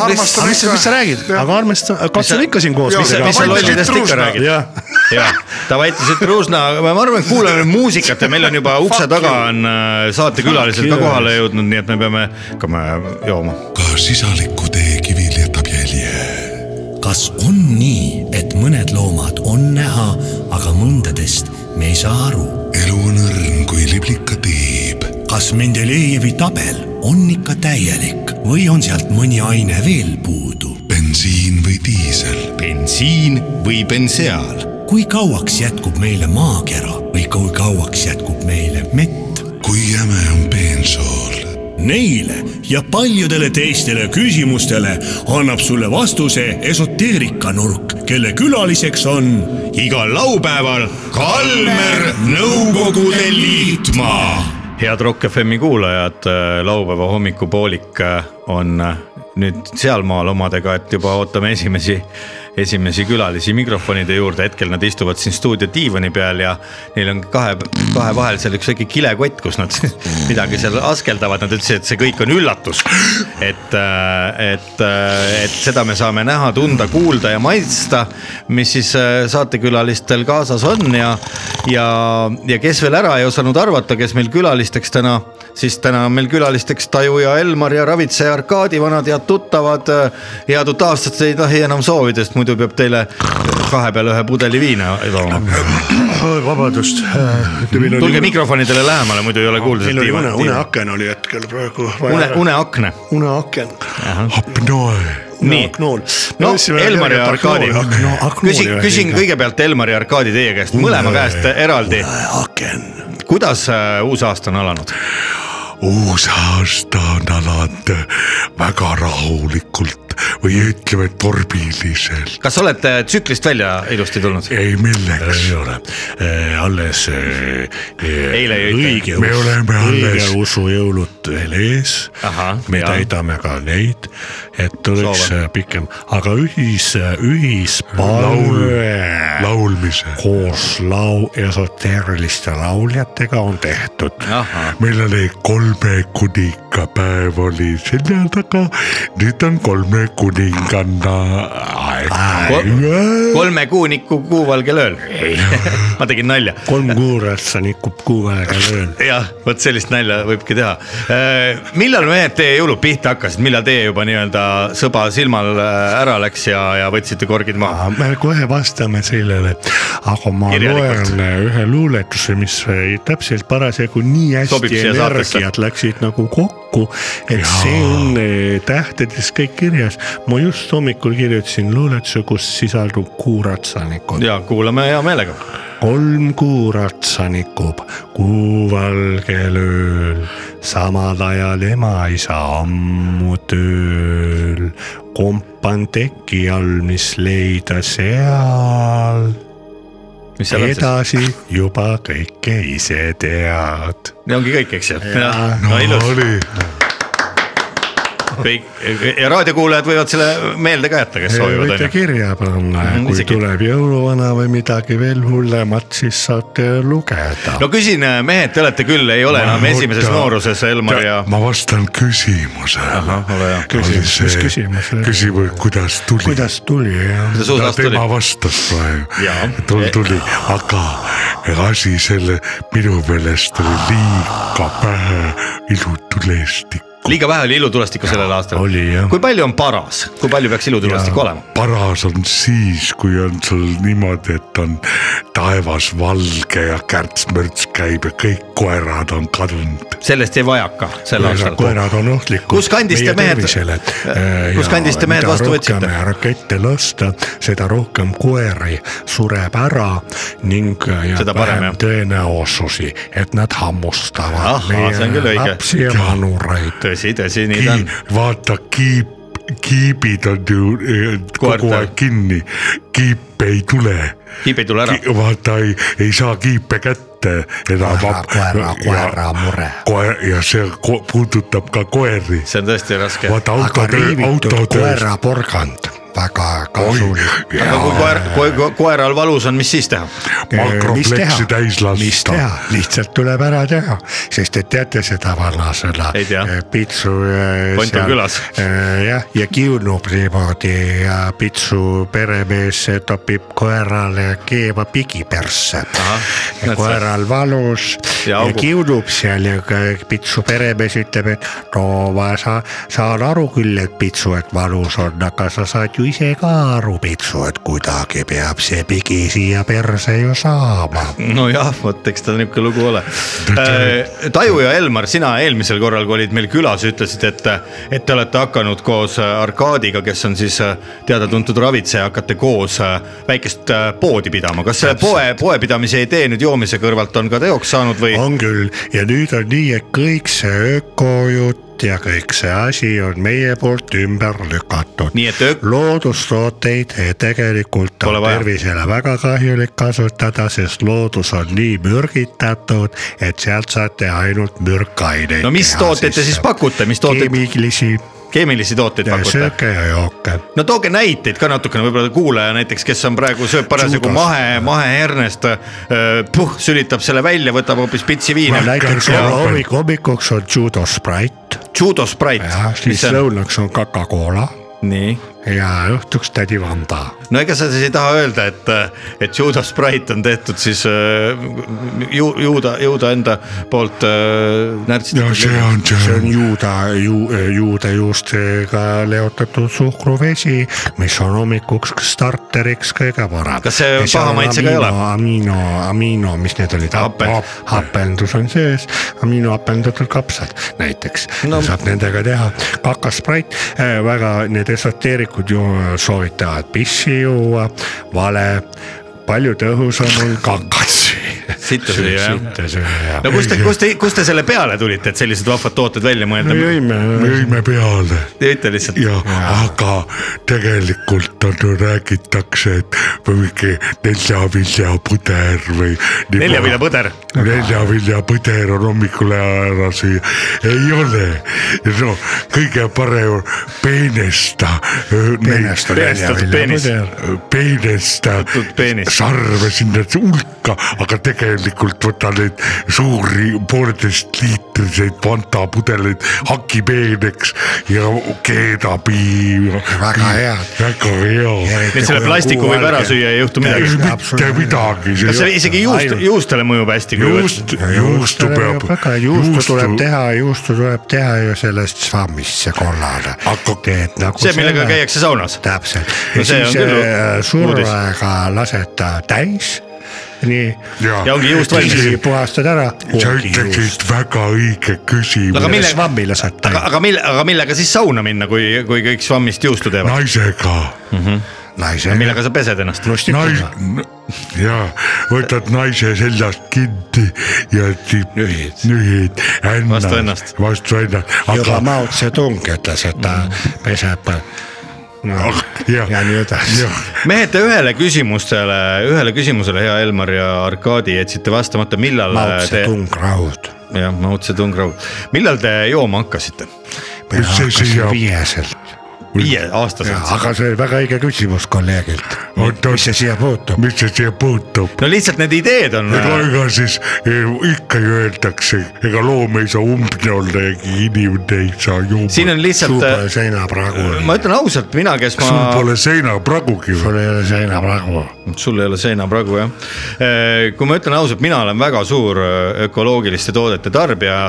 S5: aga mis sa , mis sa räägid , aga armestada , kas sul ikka siin koos
S6: Jaa,
S4: mis sa , mis sa
S6: Davai,
S4: lollidest ikka
S6: Petrušna.
S4: räägid ?
S5: jah ,
S4: jah , davai , ütlesid Ruusna , ma arvan , et kuulame nüüd muusikat ja meil on juba ukse taga on äh, saatekülalised ka
S5: you.
S4: kohale jõudnud , nii et me peame hakkame jooma .
S2: ka sisaliku tee kivil jätab jälje .
S7: kas on nii , et mõned loomad on näha , aga mõndadest me ei saa aru ?
S2: elu on õrn kui liblika tiib .
S7: kas Mendelejevi tabel on ikka täielik või on sealt mõni aine veel puudu ?
S2: bensiin või diisel ,
S4: bensiin või benseaal ?
S7: kui kauaks jätkub meile maakera või kui kauaks jätkub meile mett ?
S2: kui jäme on bensool
S7: Neile ja paljudele teistele küsimustele annab sulle vastuse esoteerikanurk , kelle külaliseks on
S4: igal laupäeval Kalmer Nõukogude Liitmaa . head Rock FM-i kuulajad , laupäeva hommikupoolik äh, on äh, nüüd sealmaal omadega , et juba ootame esimesi , esimesi külalisi mikrofonide juurde , hetkel nad istuvad siin stuudio diivani peal ja neil on kahe , kahe vahel seal üks väike kilekott , kus nad midagi seal askeldavad , nad ütlesid , et see kõik on üllatus . et , et , äh, et seda me saame näha , tunda , kuulda ja maitsta , mis siis äh, saatekülalistel kaasas on ja , ja , ja kes veel ära ei osanud arvata , kes meil külalisteks täna , siis täna on meil külalisteks Taju ja Elmar ja Ravitseja Arkadi , vanad head tuttavad . head uut aastat ei tohi enam soovida , sest muidu peab teile kahe peale ühe pudeli viina tooma .
S5: vabandust . Äh,
S4: tulge mikrofonidele lähemale , muidu ei ole kuulda .
S5: meil oli une , uneaken oli hetkel praegu .
S4: une , uneakne .
S5: uneaken .
S6: apnoe .
S4: nii ,
S5: aknool .
S4: no Elmar ja Arkadi , küsin , küsin . kõigepealt Elmar ja Arkadi teie käest mõlema käest eraldi ,
S5: aken .
S4: kuidas äh, uus aasta on alanud ?
S2: uus aasta on alanud väga rahulikult või ütleme torbiliselt .
S4: kas olete tsüklist välja ilusti tulnud ?
S2: ei milleks ,
S5: ei ole , alles .
S4: Eile
S5: eile
S4: jõite.
S5: õige
S2: Me oleme alles-
S5: õigeusu jõulud veel ees
S4: Ahah, .
S5: me
S4: jaa.
S5: täidame ka neid , et oleks
S4: Soove.
S5: eh, pikem , aga ühis , ühispalve
S2: laulmise .
S5: koos lau- , esoteeriliste lauljatega on tehtud
S2: meil oli kolme kuninga päev oli selja taga , nüüd on kolme kuninganna aeg .
S5: äh,
S4: kolme kuuniku kuuvalgelööl . ma tegin nalja .
S5: kolm kuurat sa nikub kuu aega löön .
S4: jah , vot sellist nalja võibki teha . millal mehed teie jõulud pihta hakkasid , millal teie juba nii-öelda sõba silmal äh, ära läks ja , ja võtsite korgid maha ?
S5: me kohe vastame sellele , aga ma
S4: Kirjalikult.
S5: loen äh, ühe luuletuse , mis äh, täpselt parasjagu nii
S4: Sobib
S5: hästi
S4: siia saatesse.
S5: energiat läksid nagu kokku , et ja. see on eh, tähtedes kõik kirjas . ma just hommikul kirjutasin luuletuse , kus sisaldub kuuratsanikud .
S4: ja kuulame hea meelega .
S5: kolm kuuratsa nikub kuu valgel ööl , samal ajal ema-isa ammu tööl . kompan teki all , mis leida seal ,
S4: mis seal on siis ?
S5: edasi juba kõike ise tead . Ah,
S4: ongi kõik , eks ju ? no ilus , kõik ja raadiokuulajad võivad selle meelde ka jätta , kes soovivad ,
S5: võite
S4: onju .
S5: kirja panna ja
S4: Mhm,
S5: kui
S4: isegi.
S5: tuleb jõuluvana või midagi veel hullemat , siis saate lugeda .
S4: no küsin , mehed , te olete küll , ei ole enam esimeses nooruses , Elmar ja .
S2: ma vastan küsimusele .
S4: ole hea .
S5: küsimus , mis küsimus ?
S2: küsimus , kuidas tuli ?
S5: kuidas tuli jah ?
S4: kuidas uus
S2: no
S4: aasta
S2: tema
S4: oli ?
S2: vastas
S4: Jaa.
S2: praegu , tul tuli , aga asi selle minu meelest oli liiga vähe ilutulestikku .
S4: liiga vähe oli ilutulestikku sellel aastal .
S8: Oli, jah.
S4: kui palju on paras , kui palju peaks ilutulestikku olema ?
S6: paras on siis , kui on sul niimoodi , et on taevas valge ja kärts-mürts käib ja kõik koerad on kadunud .
S4: sellest jäi vajaka sel aastal .
S6: koerad on ohtlikud .
S4: Kus kandis te mehed-
S6: äh,
S4: kus kandis te mehed vastu võtsite? ?
S6: rakette lasta , seda rohkem koeri sureb ära ning äh,
S4: Seda
S6: jääb
S4: parem, jah.
S6: vähem tõenäosusi , et nad hammustavad
S4: Ahhaa, see on küll õige.
S6: lapsi ja vanureid .
S4: tõsi , tõsi , nii ta on .
S6: vaata kiip , kiibid on ju eh, kogu
S4: Koertel.
S6: aeg kinni , kiip ei tule .
S4: kiip ei tule ära .
S6: vaata ei , ei saa kiipe kätte enam .
S5: Koera, koera, koera mure. .
S6: koer ja see ko puudutab ka koeri .
S4: see on tõesti raske .
S6: vaata
S5: aga
S6: autode ,
S5: riivitud
S6: autode .
S5: koeraporgand , väga kasulik .
S4: aga kui koer , kui koeral valus on , mis siis teha ?
S6: makrofleksi
S5: mis
S6: täis lasta
S5: teha , lihtsalt tuleb ära teha , sest te teate seda vanasõna Eh,
S4: Ei tea. .
S5: pitsu .
S4: Pont on külas.
S5: jah , ja kiunub niimoodi ja pitsu peremees topib koerale keema pigi persse
S4: Ahah, . näed sa.
S5: koeral valus
S4: Ja
S5: ja, ja
S4: augub.
S5: kiunub seal ja ka pitsu peremees ütleb , et no ma sa, saan aru küll , et pitsu , et valus on , aga sa saad ju ise ka aru , pitsu , et kuidagi peab see pigi siia perse ju saama
S4: nojah , vot eks ta niisugune lugu ole . Taju ja Elmar , sina eelmisel korral , kui olid meil külas , ütlesid , et , et te olete hakanud koos Arkadiga , kes on siis äh, teada-tuntud ravitseja , hakkate koos äh, väikest äh, poodi pidama . kas see poe , poepidamise idee nüüd joomise kõrvalt on ka teoks saanud või ?
S5: on küll ja nüüd on nii , et kõik see ökojutt ja kõik see asi on meie poolt ümber lükatud .
S4: nii et ök- ,
S5: loodustooteid tegelikult
S4: Pole
S5: on
S4: vaja.
S5: tervisele väga kahjulik kasutada , sest loodus on nii mürgitatud , et sealt saate ainult mürkaineid .
S4: No mis tooteid te siis pakute, mis tooteid-
S5: keemilisi äh,
S4: keemilisi tooteid pakute ?
S5: sööke ja jooke
S4: no tooge näiteid ka natukene , võib-olla kuulaja näiteks , kes on praegu , sööb parasjagu
S5: Juudas.
S4: mahe , mahehernest , puh , sülitab selle välja , võtab hoopis pitsi viina
S5: no, . näiteks
S4: Jaa.
S5: hommik , hommikuks on judo sprite ,
S4: Judo Sprite
S5: jah ,,
S4: mis
S5: siis
S4: see on ?
S5: lõunaks on Coca-Cola
S4: nii .
S5: ja õhtuks tädi Vanda
S4: no ega sa siis ei taha öelda , et , et Judo Sprite on tehtud siis äh, ju, juuda , juuda enda poolt äh,
S6: ja see
S4: närtsitud .
S6: on
S5: see on
S6: see .
S5: juuda ju, , juudejuustega leotatud suhkruvesi , mis on hommikuks starteriks kõige parem .
S4: Kas see paha maitsega ei ole?
S5: amino , amino , mis need olid ,
S4: Hapen-
S5: hapendus on sees , aminohapendatud kapsad näiteks
S4: No-
S5: no. , saab nendega teha . kakasprait , väga need esoteerikud ju soovitavad pissi juua , vale , palju tõhusam on kakas .
S4: Sitta süüa, jah.
S5: jah
S4: no kust te , kust te , kust te selle peale tulite , et sellised vahvad tooted välja mõelda
S5: me
S4: no, ?
S5: jõime ,
S6: me jõime peale
S4: Te ütlete lihtsalt ,
S6: ja , aga tegelikult on ju räägitakse , et või mingi neljaviljapõder või .
S4: nelja vilja . põder .
S6: neljaviljapõder on hommikul ära süüa , ei ole . no kõige parem on peenesta .
S5: peenest
S4: Peenest
S5: on välja
S4: on peenis.
S5: vilja .
S6: peenesta
S4: Tuttud peenist.
S6: sarve sinna hulka , aga tegelikult võta neid suuri pooleteist liitriseid Fanta pudeleid hakipeeneks ja keedapiim .
S5: Väga hea.
S6: väga hea .
S4: nii et selle plastiku võib ära süüa , ei juhtu
S6: ei
S4: midagi .
S6: mitte
S5: Absoluutselt.
S6: midagi .
S4: kas see isegi juust , juustele mõjub hästi ?
S6: juust , juustu peab .
S5: väga , juustu tuleb . teha , juustu tuleb teha ju sellest svammist , see kollane .
S6: Aga-
S5: teed nagu
S4: see , millega . käiakse saunas .
S5: täpselt
S4: No
S5: ja
S4: see on
S5: siis
S4: küll
S5: äh,
S4: uudis.
S5: survega lased ta täis , nii .
S4: Ja ongi juust
S5: siis
S4: valmis.
S5: puhastad ära .
S6: sa ütlesid väga õige küsimus
S4: Aga . mille-
S5: svammi lased
S4: aga ,
S5: täis
S4: aga mille , aga millega siis sauna minna , kui , kui kõik svammist juustu teevad ?
S6: naisega
S5: naise .
S4: millega sa pesed ennast ?
S6: nais- , jaa , võtad naise seljast kinni ja siis
S5: Nühid.
S6: nühid
S4: Vastu
S6: ennast
S4: ennast. ,
S6: vastu ennast ,
S5: juba
S6: aga
S5: Mao Zedong ütles , et ta peseb äh, no,
S6: Mm. jah.
S5: ja nii edasi
S6: jah ,
S4: mehed , te ühele küsimustele , ühele küsimusele , hea Elmar ja Arkadi , jätsite vastamata , millal
S5: Mao
S4: te ,
S5: Zedong raud .
S4: jah , Mao Zedong raud , millal te jooma hakkasite ?
S5: mina
S6: Mis see
S5: hakkasin
S6: siia-
S5: viieselt ,
S4: viieaastaselt .
S5: aga see oli väga õige küsimus kolleegilt .
S2: Oot, oot.
S5: mis see siia puutub ?
S2: mis see siia puutub ?
S4: no lihtsalt need ideed on
S2: no ega siis eh, ikka ju öeldakse , ega loom ei saa umbne olla ja inimene ei saa
S4: siin
S2: juua .
S4: on
S5: sul
S4: lihtsalt , äh,
S5: pole seinapragu ,
S4: ma ütlen ausalt , mina , kes ma
S2: sul , pole seinapragugi või ?
S5: sul ei ole seinapragu .
S4: sul ei ole seina praegu jah . kui ma ütlen ausalt , mina olen väga suur äh, ökoloogiliste toodete tarbija ,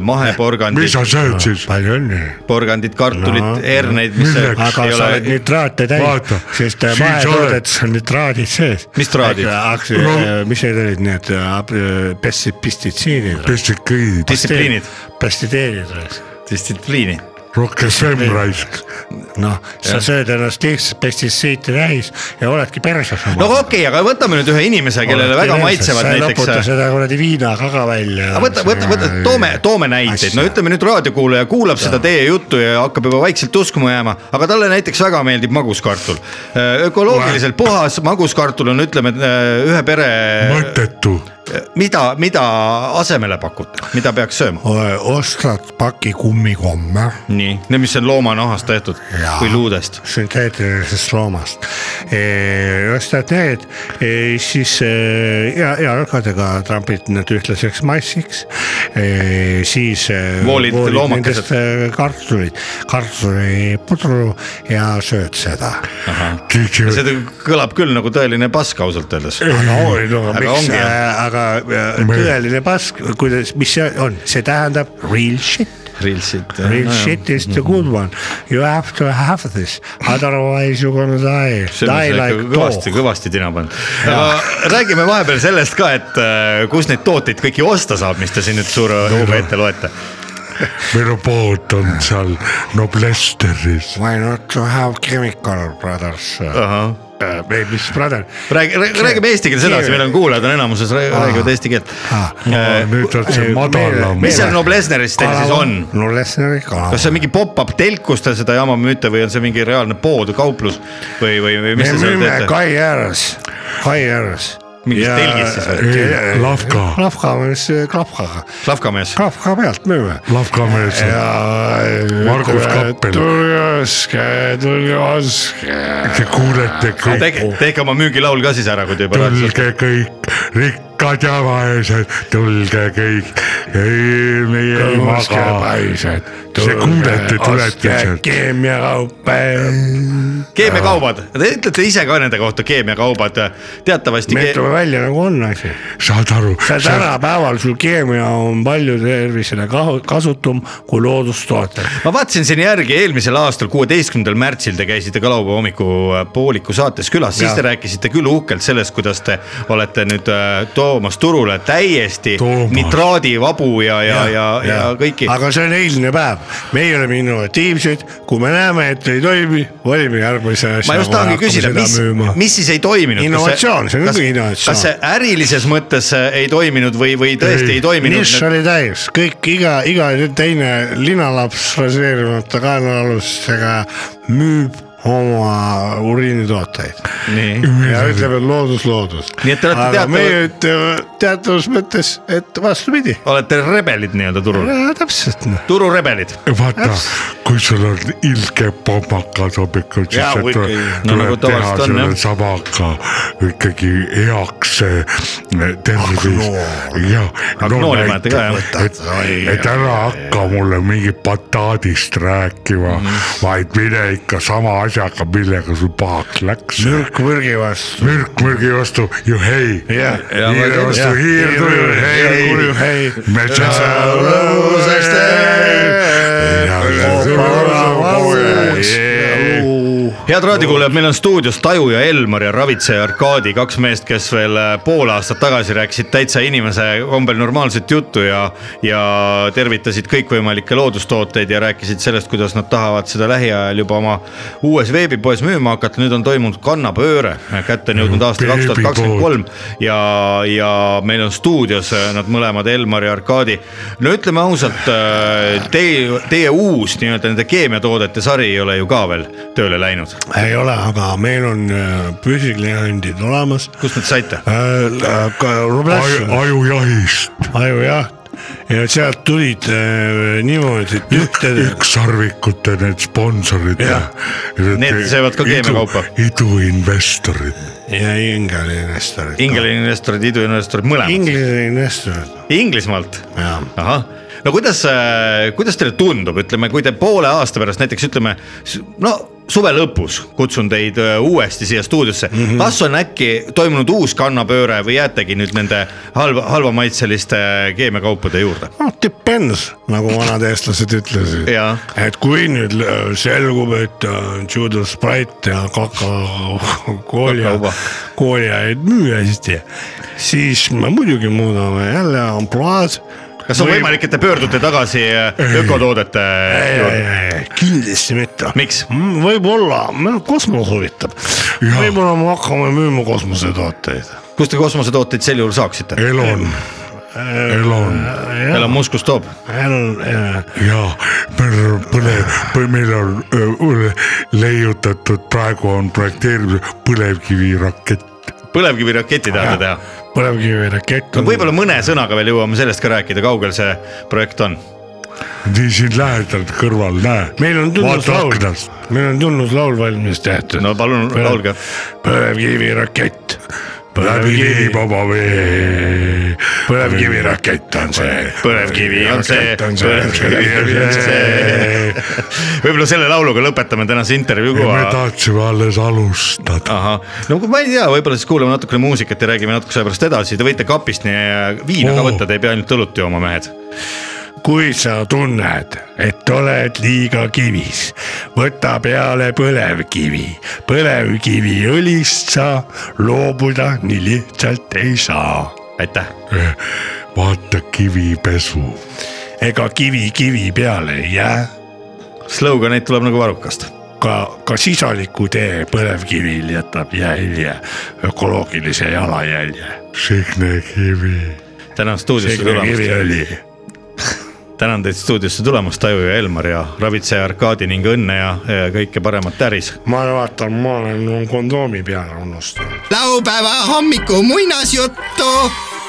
S2: mis
S4: maheporgandid ,
S2: sa sööd
S4: Äh,
S2: siis ?
S5: palju õnne .
S4: porgandid , kartulid
S5: No.
S4: no, , herneid , mis see-
S2: Milleks?
S4: ei
S5: aga sa oled
S4: ole ,
S5: nitraate täis
S2: Vaata, ,
S5: sest
S2: siin sa
S5: mahetoodetes on nitraadid sees .
S4: Mis traadid?
S2: No.
S5: mis need olid need äh, pesti- pestitsiidid ,
S2: pestitsiidid ,
S4: distsipliinid ,
S5: pestitsiidid oleks .
S4: distsipliini .
S2: rohkem sõmraisk .
S5: noh , sa sööd ennast lihtsalt pestitsiiti täis ja oledki perses .
S4: no okei okay, , aga võtame nüüd ühe inimese , kellele väga maitsevad
S5: sa ei loputa
S4: näiteks .
S5: seda kuradi viina ka ka välja .
S4: võta , võta , võta , toome , toome näiteid , no ütleme nüüd raadiokuulaja kuulab seda teie juttu ja hakkab juba vaikselt uskuma jääma , aga talle näiteks väga meeldib maguskartul . ökoloogiliselt puhas maguskartul on , ütleme äh, ühe pere ,
S2: mõttetu .
S4: mida , mida asemele pakute , mida peaks sööma ?
S5: ostad paki kummikomme
S4: nii , no mis on loomanahast tehtud
S5: Jaa.
S4: või luudest ,
S5: sünteetilisest loomast . ostad need , e, siis eh, ja , jalgadega trampid need ühtlaseks massiks . E, siis .
S4: Voolid loomakesed. .
S5: e, kartulid , kartulipudru ja sööd seda .
S4: see kõlab küll nagu tõeline pask ausalt öeldes .
S5: E,
S4: aga ongi, jah.
S5: aga eh, tõeline pask , kuidas , mis see on , see tähendab real shit .
S4: Real shit .
S5: Real shit is the good
S4: Mm-hmm.
S5: one . You have to have this , otherwise you gonna die . Die like
S4: kõvasti ,
S5: dog .
S4: kõvasti tina pannud . aga räägime vahepeal sellest ka , et äh, kus neid tooteid kõiki osta saab , mis te siin nüüd suure hooga ette loete .
S2: meil on pood on seal Noblesteris .
S5: Why not to have chemical brothers uh, ? ei , mis brother ?
S4: räägi , räägime eesti keeles edasi , meil on kuulajad on enamuses , räägivad eesti keelt .
S2: nüüd on see
S5: eh,
S2: madalam .
S4: mis seal Noblessneris teil siis on ?
S5: no Lessneri kala
S4: kas . see on mingi pop-up telk , kus te seda jama müüte või on see mingi reaalne pood , kauplus või , või , või
S5: me
S4: mis te seal
S5: müüme
S4: teete ?
S5: kai ääres , kai ääres .
S4: Mingis telgis siis või?
S5: või ?
S2: Lavka.
S5: lavka , mis klapkaga ,
S4: Lavkamees ,
S5: klapka pealt müüme .
S2: Lavkamees ,
S5: ja .
S2: Margus Kappel.
S5: tulge ostke , tulge ostke .
S2: te kuulete kõik
S4: tehke , tehke oma müügilaul ka siis ära , kui te juba rääkisite .
S2: tulge kõik , rikkad ja vaesed , tulge kõik , ei me ei
S5: Kõrvaske
S2: maga .
S5: paised ,
S2: See kuulete tuletused.
S5: keemiakaupa .
S4: keemiakaubad , te ütlete ise ka nende kohta keemiakaubad , teatavasti
S5: me
S4: ke...
S5: ütleme välja nagu on asi .
S2: saad aru ,
S5: sa tänapäeval , sul keemia on palju tervisele kahu- kasutum kui loodustooted .
S4: ma vaatasin siin järgi eelmisel aastal , kuueteistkümnendal märtsil te käisite Kalaupäeva hommikupooliku saates külas , siis
S5: Jaa.
S4: te rääkisite küll uhkelt sellest , kuidas te olete nüüd äh, toomas turule täiesti
S2: Toomas.
S4: nitraadivabu ja , ja , ja , ja kõiki .
S5: aga see on eilne päev , meie oleme innovatiivsed , kui me näeme , et ei toimi , valime järgmise asja .
S4: ma just tahangi küsida , mis , mis siis ei toiminud ?
S5: Innovatsioon, see on
S4: kas,
S5: ikka innovatsioon.
S4: kas see ärilises mõttes äh, ei toiminud või , või tõesti ei, ei
S5: nišš
S4: toiminud ?
S5: oli täis , kõik iga , iga teine linalaps raseerimata kaelaalustega müüb oma uriinitooteid .
S4: nii ,
S5: ja ütleb , et loodus , loodus .
S4: Nii et te olete
S5: aga
S4: teatav-
S5: meie ütleme teatavas mõttes , et vastupidi .
S4: olete rebelid nii-öelda turul ,
S5: täpselt noh .
S4: tururebelid .
S2: vaata , kui sul on ilge pommakas hommikul , siis
S5: Jaa,
S2: sa
S5: kui
S2: tule-
S5: ikkagi.
S4: No nagu
S2: tuleb teha
S4: tavaliselt on,
S2: selle
S4: jah.
S2: samaga ikkagi heaks eh, tervis
S5: Agnool. .
S2: jah , no
S4: Agnooli panete ka, jah?
S2: näiteks , et , et ära hakka mulle mingi bataadist rääkima mm , -hmm. vaid mine ikka sama asjaga , millega sul pahaks läks .
S5: mürk mürgi vastu .
S2: mürk mürgi vastu ju hei .
S5: jah ,
S2: hiire vastu hiir tuju hei .
S5: hei .
S2: me
S5: lõbusaks
S2: saame .
S4: head raadiokuulajad , meil on stuudios Taju ja Elmar ja ravitseja Arkadi , kaks meest , kes veel äh, pool aastat tagasi rääkisid täitsa inimese kombel normaalset juttu ja , ja tervitasid kõikvõimalikke loodustooteid ja rääkisid sellest , kuidas nad tahavad seda lähiajal juba oma uues veebipoes müüma hakata . nüüd on toimunud kannapööre , kätte on jõudnud aasta kaks tuhat kakskümmend kolm ja , ja meil on stuudios äh, nad mõlemad , Elmar ja Arkadi . no ütleme ausalt , teie , teie uus nii-öelda nende keemiatoodete sari ei ole ju ka veel tööle läinud ,
S5: ei ole , aga meil on äh, püsikliendid olemas . Äh,
S4: kust nad saite ?
S5: Rubless ,
S2: ajujahist ,
S5: ajujaht ja sealt tulid äh, niimoodi , et ühtede ,
S2: ükssarvikute need sponsorid
S5: Jah. .
S4: Need söövad ka keemiakaupa.
S2: iduinvestorid ,
S5: ja Ingeli investorid .
S4: Inglismaa investorid , iduinvestorid , mõlemad .
S5: Ingeli investorid ,
S4: Inglismaalt ?
S5: jaa .
S4: ahah , no kuidas , kuidas teile tundub , ütleme , kui te poole aasta pärast näiteks ütleme , no suve lõpus kutsun teid öö, uuesti siia stuudiosse mm ,
S5: Mhm.
S4: -hmm. kas on äkki toimunud uus kannapööre või jäätegi nüüd nende halva , halvamaitseliste äh, keemiakaupade juurde ?
S5: noh , depends , nagu vanad eestlased ütlesid
S4: Jaa. .
S5: et kui nüüd l- selgub , et äh, Judas Sprite ja Coca-Cola ,
S4: Kakauba.
S5: Cola ei müü hästi , siis me muidugi muudame jälle ampluaad .
S4: kas on võimalik , et te pöördute tagasi öö, ökotoodete
S5: ei , ei ,
S4: juurde ?
S5: ei , kindlasti mitte .
S4: Miks? ?
S5: võib-olla , meil kosmos huvitab . võib-olla me hakkame müüma kosmosetooteid .
S4: kust te kosmosetooteid sel juhul saaksite ?
S2: Elon , Elon
S4: Elon Musk , kust toob ?
S5: äh,
S2: ja meil on põlev , meil on öö, üle- leiutatud , praegu on projekteerimisel põlevkivirakett .
S4: põlevkiviraketi tahate teha ?
S5: põlevkivirakett
S4: no . võib-olla mõne sõnaga veel jõuame sellest ka rääkida , kaugel see projekt on
S2: nii siin lähedalt kõrval , näe .
S5: meil on tunnuslaul
S2: Vaata aknast. ,
S5: meil on tunnuslaul valmis tehtud .
S4: No palun, laulge. .
S5: põlevkivirakett .
S2: läbi nii . vaba vee .
S5: põlevkivirakett on see .
S4: põlevkivi on see , põlevkivi on see . võib-olla selle lauluga lõpetame tänase intervjuu
S2: me
S4: kohe .
S2: tahtsime alles alustada .
S4: ahah , no kui ma ei tea , võib-olla siis kuulame natukene muusikat ja räägime natukese aja pärast edasi , te võite kapist nii äh, viina ka
S2: Oo.
S4: võtta , te ei pea ainult õlut jooma , mehed .
S5: kui sa tunned , et oled liiga kivis , võta peale põlevkivi . põlevkiviõlist sa loobuda nii lihtsalt ei saa .
S4: aitäh ,
S2: vaata kivipesu
S5: ega kivi kivi peale ei jää ,
S4: slogan'id tuleb nagu varrukast .
S5: ka , ka sisaliku tee põlevkivil jätab jälje , ökoloogilise jalajälje .
S2: Signe Kivi .
S4: tänan stuudiosse tulemast ,
S5: kiviõli .
S4: tänan teid stuudiosse tulemast , Taju ja Elmar ja ravitseja Arkadi ning õnne ja ja kõike paremat äris
S5: ma vaatan , ma olen kondoomi peale unustanud .
S9: laupäeva hommiku muinasjuttu .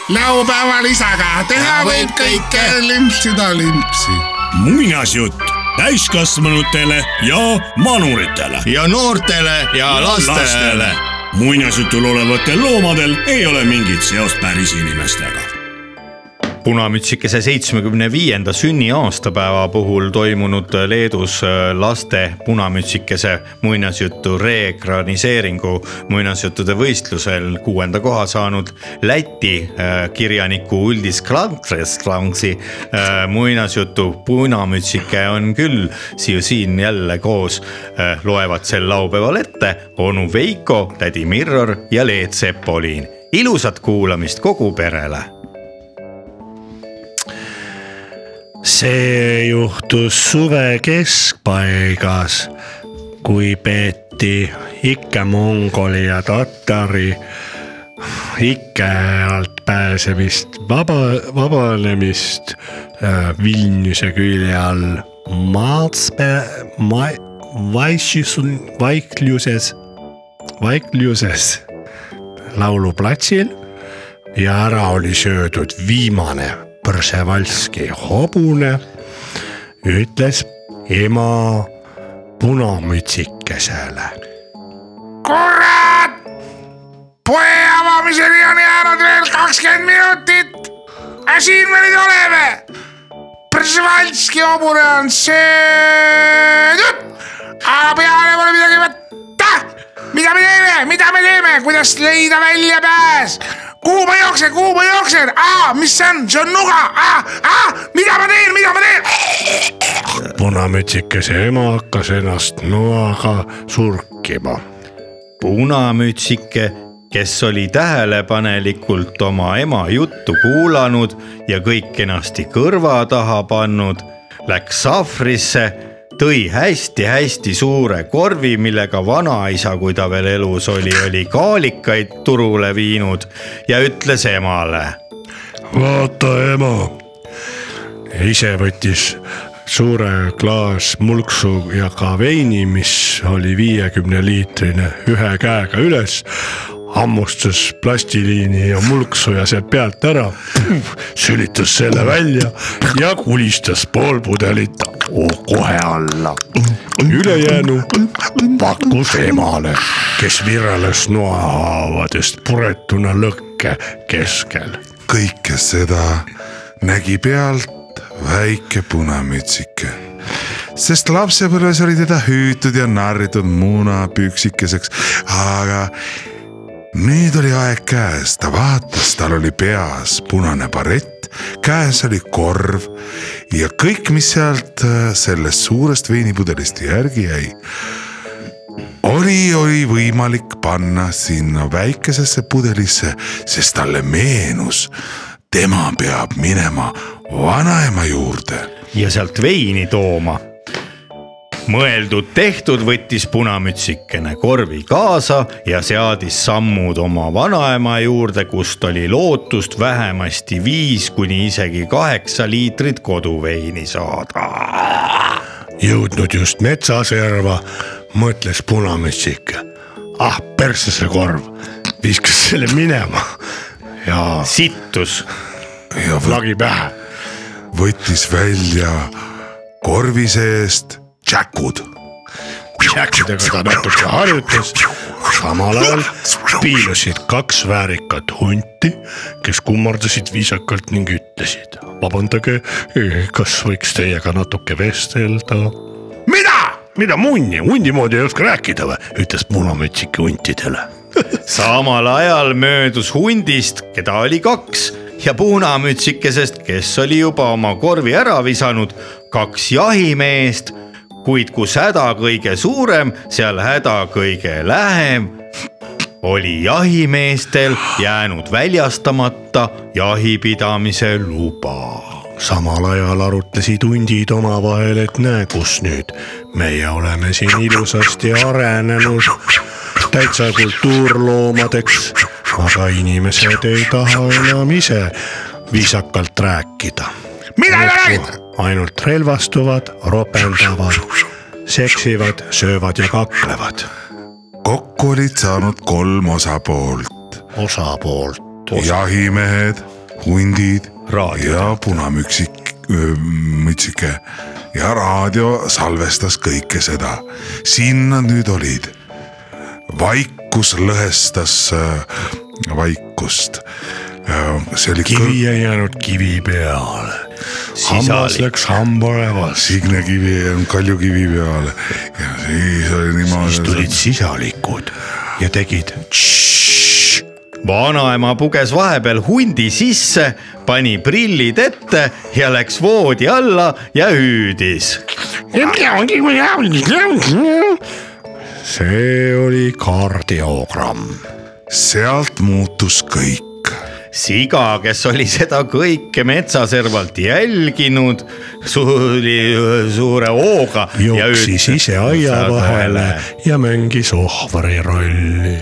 S6: laupäeva lisaga teha
S9: võib kõike.
S6: limpsida limpsi .
S7: muinasjutt täiskasvanutele ja manuritele .
S4: ja noortele ja lastele .
S7: muinasjutul olevatel loomadel ei ole mingit seost päris inimestega .
S4: punamütsikese seitsmekümne viienda sünniaastapäeva puhul toimunud Leedus äh, laste punamütsikese muinasjutu reekraniseeringu muinasjuttude võistlusel kuuenda koha saanud Läti äh, kirjaniku Uldis Krantresklangsi muinasjutu Punamütsike on küll siia siin jälle koos äh, loevad sel laupäeval ette onu Veiko , tädi Mirror ja Leet Sepolin ilusat kuulamist kogu perele
S5: see juhtus suve keskpaigas , kui peeti ikke mongoli ja tatari ikke alt pääsemist , vaba , vabanemist äh, Vilniuse külje all . Maatspe- , ma- , vaiksus , vaikluses , vaikluses lauluplatsil ja ära oli söödud viimane Przewalski hobune , ütles ema punamütsikesele .
S6: kurat , poe avamiseni on jäänud veel kakskümmend minutit . aga siin me nüüd oleme . Przewalski hobune on söödud , aga peale pole midagi võtta . mida me teeme , mida me teeme , kuidas leida väljapääs ? kuhu ma jooksen , kuhu ma jooksen , mis see on , see on nuga , mida ma teen , mida ma teen ?
S5: punamütsikese ema hakkas ennast noaga surkima .
S4: punamütsike , kes oli tähelepanelikult oma ema juttu kuulanud ja kõik kenasti kõrva taha pannud , läks sahvrisse , tõi hästi-hästi suure korvi , millega vanaisa , kui ta veel elus oli , oli kaalikaid turule viinud ja ütles emale .
S5: vaata ema . ise võttis suure klaas mulksu ja ka veini , mis oli viiekümne liitrine , ühe käega üles , hammustas plastiliini ja mulksuja sealt pealt ära , sülitas selle välja ja kulistas pool pudelit kohe alla . ülejäänu pakkus emale , kes virales noahaavadest puretuna lõkke keskel .
S6: kõike seda nägi pealt väike punamütsike , sest lapsepõlves oli teda hüütud ja narritud munapüksikeseks , aga nüüd oli aeg käes , ta vaatas , tal oli peas punane barett , käes oli korv ja kõik , mis sealt äh, sellest suurest veinipudelist järgi jäi , oli , oli võimalik panna sinna väikesesse pudelisse , sest talle meenus , tema peab minema vanaema juurde .
S4: ja sealt veini tooma . mõeldud-tehtud võttis punamütsikene korvi kaasa ja seadis sammud oma vanaema juurde , kust oli lootust vähemasti viis kuni isegi kaheksa liitrit koduveini saada .
S5: jõudnud just metsaserva , mõtles punamütsik . ah , persse see korv , viskas selle minema ja
S4: sittus
S6: ja võ-
S5: lagi pähe .
S6: võttis välja korvi seest tšäkud .
S5: Jackidega ta natuke harjutas , samal ajal piilusid kaks väärikat hunti , kes kummardasid viisakalt ning ütlesid . vabandage , kas võiks teiega natuke vestelda ? mida , mida munni , hundi moodi ei oska rääkida või , ütles punamütsik huntidele
S4: samal ajal möödus hundist , keda oli kaks ja puunamütsikesest , kes oli juba oma korvi ära visanud , kaks jahimeest , kuid kus häda kõige suurem , seal häda kõige lähem oli jahimeestel jäänud väljastamata jahipidamise luba .
S5: samal ajal arutlesid hundid omavahel , et näe , kus nüüd meie oleme siin ilusasti arenenud , täitsa kultuurloomadeks , aga inimesed ei taha enam ise viisakalt rääkida .
S6: mida te räägite ?
S5: ainult relvastuvad , ropendavad , seksivad , söövad ja kaklevad .
S6: kokku olid saanud kolm osapoolt ,
S5: osapoolt
S6: jahimehed , hundid ja punamüksik , mütsike ja raadio salvestas kõike seda . siin nad nüüd olid . vaikus lõhestas äh, vaikust . see oli kõr-
S5: kivi ei jäänud kivi peale , hammas
S4: sisalik
S5: läks hambarevasse .
S6: Signe Kivi ei olnud Kaljukivi peal ja siis oli
S5: siis tulid
S6: niimoodi .
S5: sisalikud ja tegid
S4: vanaema puges vahepeal hundi sisse , pani prillid ette ja läks voodi alla ja hüüdis
S5: see oli kardiogramm .
S6: sealt muutus kõik .
S4: siga , kes oli seda kõike metsaservalt jälginud , suli suure hooga .
S5: jooksis ise aia vahele ja mängis ohvri rolli .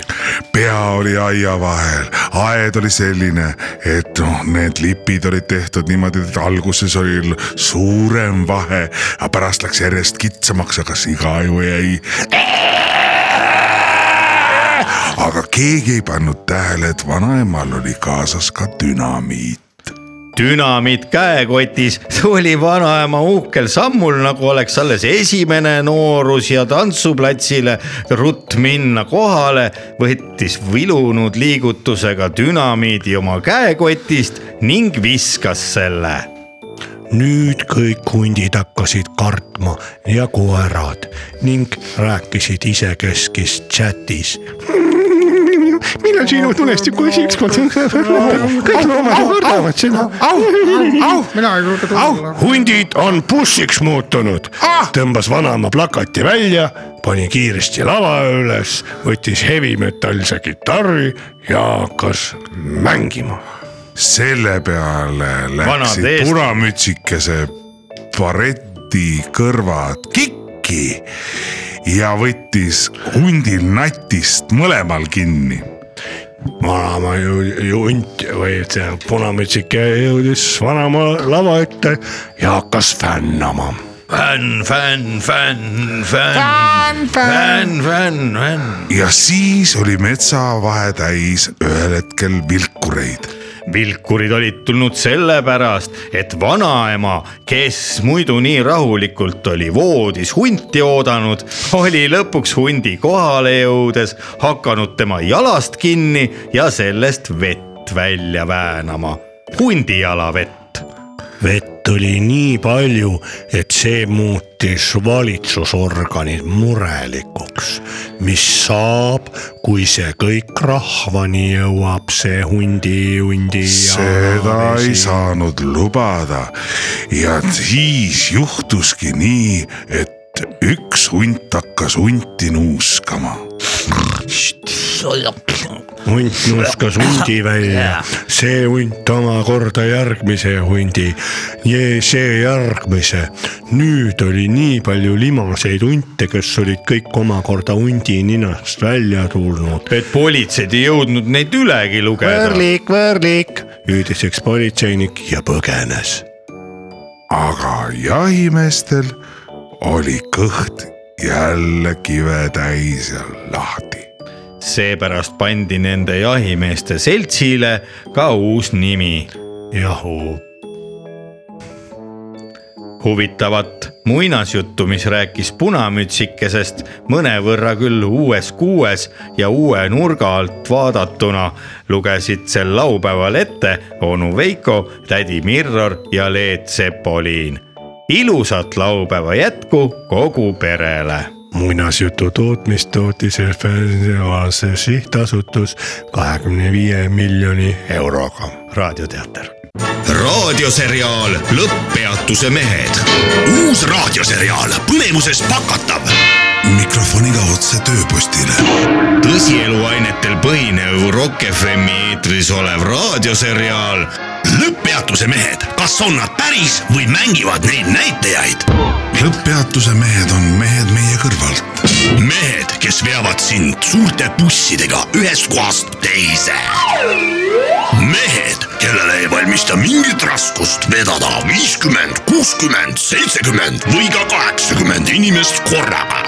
S6: pea oli aia vahel , aed oli selline , et noh , need lipid olid tehtud niimoodi , et alguses oli l- suurem vahe , aga pärast läks järjest kitsamaks , aga siga ju jäi . aga keegi ei pannud tähele , et vanaemal oli kaasas ka dünamiit .
S4: dünamiit käekotis tuli vanaema uhkel sammul , nagu oleks alles esimene noorus ja tantsuplatsile rutt minna kohale , võttis vilunud liigutusega dünamiidi oma käekotist ning viskas selle
S5: nüüd kõik hundid hakkasid kartma ja koerad ning rääkisid isekeskis chatis . millal sinu tulestiku ükskord kõik loomad ju kardavad seda
S9: mina ei julge tulla .
S5: hundid on bussiks muutunud ah! , tõmbas vanaema plakati välja , pani kiiresti lava üles , võttis heavy metallse kitarri ja hakkas mängima .
S6: selle peale läksid
S4: eest-
S6: punamütsikese bareti kõrvad kikki ja võttis hundil natist mõlemal kinni .
S5: vanaema ju , ju hunt või see punamütsike jõudis vanaema lava ette ja hakkas fännama .
S4: fänn , fänn , fänn , fänn
S6: Fänn, , fänn.
S4: fänn , fänn , fänn .
S2: ja siis oli metsavahe täis ühel hetkel vilkureid .
S4: vilkurid olid tulnud sellepärast , et vanaema , kes muidu nii rahulikult oli voodis hunti oodanud , oli lõpuks hundi kohale jõudes hakanud tema jalast kinni ja sellest vett välja väänama , hundi jalavett .
S5: vett oli nii palju , et see muutis valitsusorganid murelikuks . mis saab , kui see kõik rahvani jõuab , see hundi , hundi ja .
S2: seda ei saanud lubada ja siis juhtuski nii , et üks hunt hakkas hunti nuuskama .
S5: hunt nuuskas hundi välja , see hunt omakorda järgmise hundi ja see järgmise . nüüd oli nii palju limaseid hunte , kes olid kõik omakorda hundi ninast välja tulnud .
S4: et politseid ei jõudnud neid ülegi lugeda .
S5: võõrlik , võõrlik , hüüdis üks politseinik ja põgenes .
S2: aga jahimeestel oli kõht jälle kive täis ja lahti .
S4: seepärast pandi nende jahimeeste seltsile ka uus nimi
S5: jahu ,
S4: huvitavat muinasjuttu , mis rääkis punamütsikesest mõnevõrra küll uues kuues ja uue nurga alt vaadatuna , lugesid sel laupäeval ette onu Veiko , tädi Mirror ja Leet Sepoliin . ilusat laupäeva jätku kogu perele
S5: muinasjutu tootmist tootis FNC sihtasutus kahekümne viie miljoni euroga .
S4: raadioteater .
S7: raadioseriaal Lõpppeatuse mehed . uus raadioseriaal põnevuses pakatav .
S2: mikrofoniga otse tööpostile .
S4: tõsieluainetel põhinev Rock FM-i eetris olev raadioseriaal
S7: lõpppeatuse mehed , kas on nad päris või mängivad neid näitajaid ?
S2: lõpppeatuse mehed on mehed meie kõrvalt .
S7: mehed , kes veavad sind suurte bussidega ühest kohast teise . mehed , kellele ei valmista mingit raskust vedada viiskümmend , kuuskümmend , seitsekümmend või ka kaheksakümmend inimest korraga .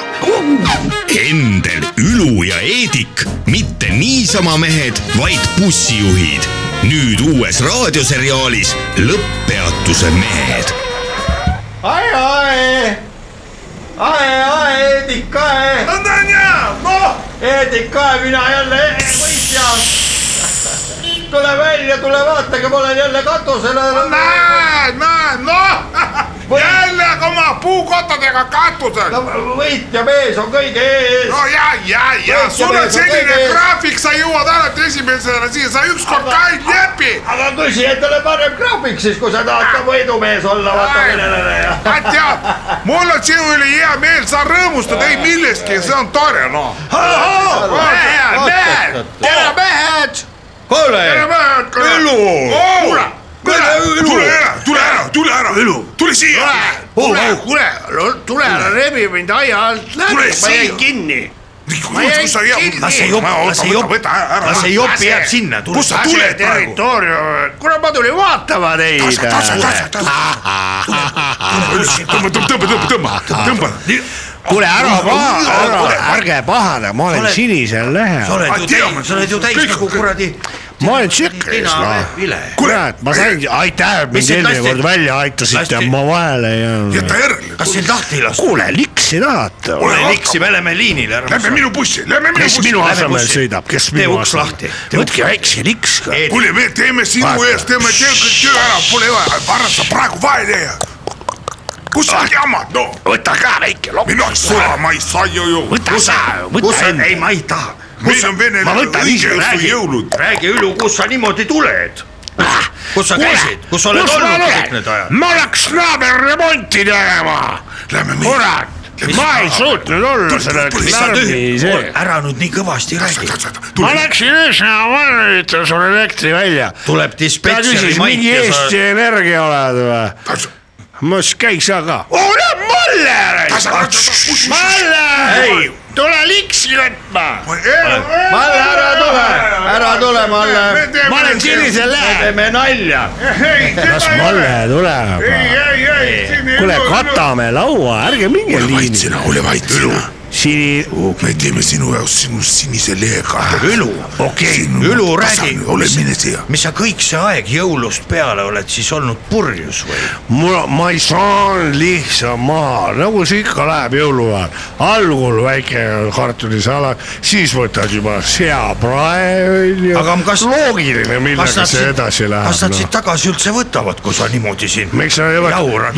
S7: Endel , Ülu ja Eedik , mitte niisama mehed , vaid bussijuhid . nüüd uues raadioseriaalis Lõpppeatuse mehed
S4: ae , ae , ae , ae , Eedik , ae . no ta on hea , noh . Eedik , ae , mina jälle e- e- võitja . tule välja , tule vaatage , ma olen jälle katusel .
S6: näed , näed , noh , jälle oma puukottadega katusel .
S4: võitja mees on kõige ees .
S6: no ja , ja , ja sul on selline graafik , sa jõuad alati esimesena siia , sa ükskord ka ei lepi .
S4: aga küsi endale parem graafik siis , kui sa tahad ka võidumees olla , vaata millele ja .
S6: ma tean , mul on sinu üle hea meel , sa rõõmustad ei millestki , see on tore , noh . mehed , mehed , tere mehed , tere
S4: kuule ,
S6: mehed , kuule , kuule ,
S2: tule ära , tule ära , tule ära , Elu , tule siia .
S6: kuule , kuule , tule ära rebi mind aia alt läbi , ma jäin kinni .
S2: kus sa jääd ?
S6: Las see
S2: jopi , las see jopi , las see jopi jääb
S4: sinna, tule-
S2: kus sa tuled praegu ?
S6: territoorium , kuule ma tulin vaatama teid .
S2: tõmba , tõmba , tõmba , tõmba , tõmba , tõmba .
S10: kuule , ära paha , ära , ärge pahane , ma olen sinisel lehel ,
S2: sa oled ju täis nagu kuradi .
S10: ma olen tsüklis , noh .
S2: kuule
S10: kurat , ma sain , aitäh , et mind eelmine kord välja aitasite , ma vahele ei jäänud .
S2: jäta järele ,
S4: kas sind lahti ei lasta ?
S10: kuule , liksi tahate ?
S4: kuule , liksi , me läheme liinile ära .
S2: lähme minu bussi , lähme minu
S10: kes
S2: bussi .
S10: minu
S4: lähme
S10: asemel
S4: bussi.
S10: sõidab , kes
S4: Tee
S10: minu
S4: uks lahti.
S10: asemel ? võtke väikse liks ka .
S2: kuule , me teeme sinu eest , teeme töö kõik töö ära , pole vaja , ära sa praegu vahele jää . kus sa jamad , no ?
S10: võta ka väike lokk .
S2: minu jaoks sulama ei saa ju ju .
S10: võta sa ,
S4: kus
S10: võta
S4: on , ei ,
S10: enda .
S4: ma ei taha .
S2: meil on vene
S10: ma võtan ise,
S2: õigeusu
S10: räägi.
S2: jõulud .
S4: räägi , Ülu , kus sa niimoodi tuled ? kus sa käisid , kus sa oled olnud kõik need ajad ?
S10: ma läks naaberremonti tegema ,
S2: Lähme meie .
S10: kurat . ma ei suutnud olla selle
S2: tule, sa
S10: lärmi sees .
S4: ära nüüd nii kõvasti räägi .
S10: ma läksin ühesõnaga , ma lülitan sulle elektri välja .
S4: tuleb
S10: ta küsis , mingi
S4: dispetšeri Mait ja sa
S10: Eesti Energia oled või ?
S5: mis käiks aga . ole mulle , Malle , tule liksi võtma .
S7: Malle , ära tule , ära tule , Malle .
S5: ma olen sinisel lähe .
S7: teeme nalja .
S5: las Malle tuleb . kuule , katame laua , ärge minge
S6: ole vait
S5: liini .
S6: sina , ole vait sina .
S5: siin ,
S6: me teeme sinu jaoks sinu sinise lehega .
S4: Ülu ,
S6: okei
S4: Ülu, räägi.
S6: ole mine siia .
S4: mis sa kõik see aeg jõulust peale oled siis olnud purjus või ?
S5: mul , ma ei saanud lihtsalt maha , nagu see ikka läheb jõuluajal . algul väike kartulisalat , siis võtad juba seaprae , onju .
S4: Aga kas-
S5: loogiline , millega see edasi
S4: kas nad
S5: läheb noh.
S4: sind ? tagasi üldse võtavad , kui sa niimoodi siin
S5: miks sa ei võta
S4: jaurad ?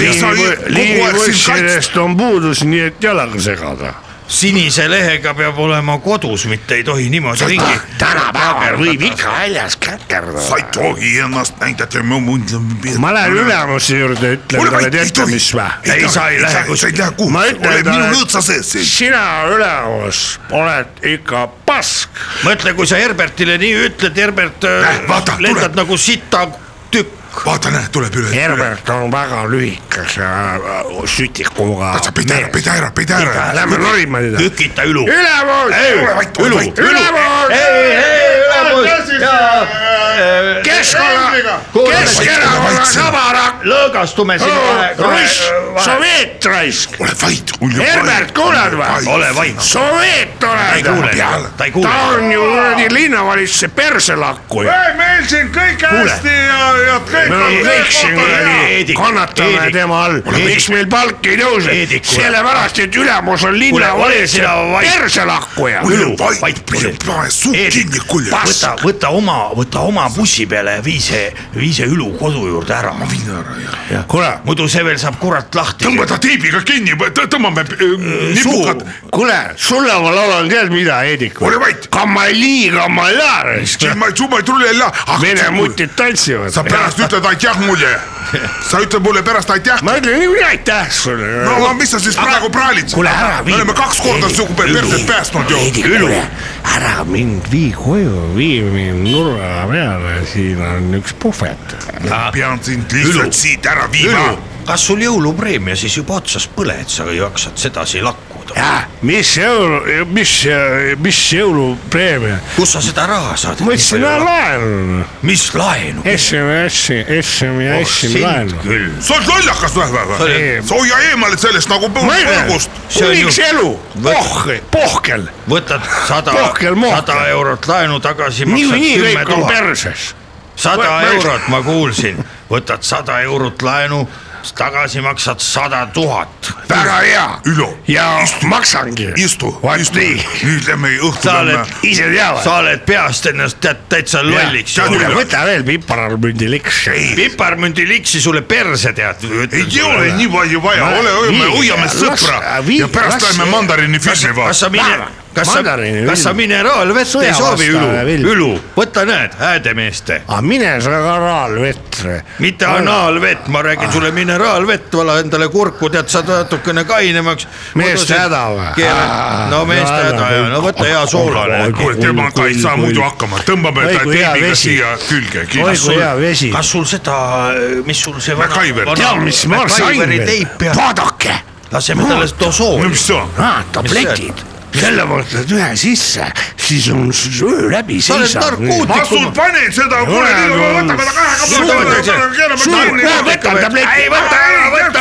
S5: liinivõssidest on puudus , nii et jalaga segada .
S4: sinise lehega peab olema kodus , mitte ei tohi niimoodi ringi .
S5: Ah, tänapäeval võib ikka väljas
S6: sa
S5: käkerdada
S6: ei . tohi ennast näidata , ma mõtlen .
S5: ma lähen . ülemuse juurde , ütlen talle , teate mis või ?
S6: ei , sa ei lähe , sa ei lähe kuhugi .
S5: Ma ütlen
S6: ole
S5: talle-
S6: minu lõõtsa sees siin .
S5: sina , ülemus , oled ikka pask
S4: mõtle , kui sa Herbertile nii ütled , Herbert
S6: Näe, vaata,
S4: äh, lendad
S6: tuleb.
S4: nagu sita tükk .
S6: vaata , näe , tuleb üle .
S5: Herbert on väga lühikese äh, sütikuga
S6: sa pida ära , pida ära , pida ära .
S5: Lähme norima teda .
S4: ükita ülu .
S5: ülemus ,
S6: ülu ,
S5: ülemus ,
S4: Äh,
S5: Keskkonna , Keskerakonna sabarakk ,
S7: lõõgastume siin
S5: Oh,
S7: kohe ,
S5: russ , soveetraisk ,
S6: ole vait .
S5: Herbert , kuuled või ?. soveet oled või ?
S4: ta ei kuule
S5: ta . on ju kuradi linnavalitsuse perselakkuja .
S11: meil siin kõik hästi ja , ja kõik
S5: me oleme kõik siin kuradi
S4: Eedik, ,
S5: kannatame
S4: Eedik.
S5: tema all , miks meil palk ei tõuse
S4: Eedik, , kuule.
S5: sellepärast et ülemus on linnavalitsuse perselakkuja .
S6: kuule , vait , pane suu kinni , kuule .
S4: võta , võta oma , võta oma bussi peale ja vii see , vii see ülu kodu juurde ära .
S6: ma viin ära ja .
S5: kuule ,
S4: muidu see veel saab kurat lahti .
S6: tõmba ta teibiga kinni , tõmbame äh, nipukad .
S5: kuule , sulle ma laulan tead mida , Eedik ?
S6: Ole vait.
S5: kamalii , kamalaares ,
S6: ma ei , ma ei tule jälle .
S5: vene mutid tantsivad .
S6: sa pärast ütled aitäh mulle . sa ütled mulle pärast aitäh .
S5: ma ütlen niikuinii aitäh sulle .
S6: no aga mis sa siis praegu praalid ?
S5: Äh, kuule ära
S6: me
S5: vii .
S6: oleme kaks korda su perset päästnud ju .
S5: Ülu . ära mind vii koju , vii mind nurga peale , siin on üks puhvet .
S6: ma pean sind lihtsalt siit ära viima .
S4: kas sul jõulupreemia siis juba otsas pole , et sa jaksad sedasi lakkuda ?
S5: jah , Ah, mis jõulu , mis , mis jõulupreemia ?
S4: kust sa seda raha saad ?
S5: võtsin ära laenu ,
S4: mis laenu ?
S5: SMS-i , SMS-i oh, laenu .
S4: küll .
S6: sa oled lollakas või , või , või ? sa hoia eemale sellest nagu põrgust .
S4: See on
S5: kuniks
S4: ju-
S5: elu ,
S4: Vot-
S5: pohh , pohkel ,
S4: võtad sada ,
S5: Pohkel mohkel.
S4: sada eurot laenu tagasi , maksad
S5: niikuinii
S4: kümme
S5: kõik on
S4: tuhat ,
S5: perses .
S4: sada
S5: Võ- võ-
S4: eurot , ma kuulsin , võtad sada eurot laenu , tagasi maksad sada tuhat .
S5: väga hea
S6: Ülo ,
S5: ja maksangi ,
S6: istu ,
S5: vaat
S6: istu
S5: nii ,.
S6: nüüd lähme õhtul
S4: Sa oled-
S6: lähme .
S5: ise teavad .
S4: sa oled peast ennast tä- täitsa lolliks
S5: kuule ,
S4: joonud .
S5: võta veel piparmündi liksi .
S4: piparmündi liksi sulle perse tead .
S6: ei ole nii palju vaja , ole , hoiame , hoiame sõpra
S5: äh,
S6: ja pärast lähme mandariini filmi
S4: kas
S6: vaatama .
S4: sa mine
S5: Lähme. ,
S4: kas sa
S5: Mandariini ,
S4: kas sa
S5: vill.
S4: mineraalvett ei soovi ,
S5: Sõjavastaja vill.
S4: Ülu , Ülu , võta näed , häädemeeste ,
S5: aga Ah, mine sa Ah, kanaalvetre .
S4: mitte . anaalvett , ma räägin sulle mineraalvett , vala endale kurku , tead , saad natukene kainemaks .
S5: Meeste häda või? Aa,
S4: no meeste
S5: no
S4: häda
S5: anna
S4: ja , no võta hea soolane
S5: Oi, .
S6: kuule , temaga ei saa muidu hakkama , tõmbame
S5: Oi,
S6: ta
S5: kui hea
S6: teibiga
S5: vesi.
S6: siia külge .
S5: oi kui hea vesi .
S4: kas sul seda , mis sul see .
S6: MacGyver.
S5: tead , mis ma sain
S4: veel
S5: veel ?, vaadake ,
S4: laseme talle
S6: no
S4: dosooni
S6: mis . see on ?
S5: tabletid , selle võtad ühe sisse , siis on s- öö läbi .
S4: sa oled narkootik .
S6: ma sul panen seda , kuule , ma võtan ta kahega . ei võta ära , võta .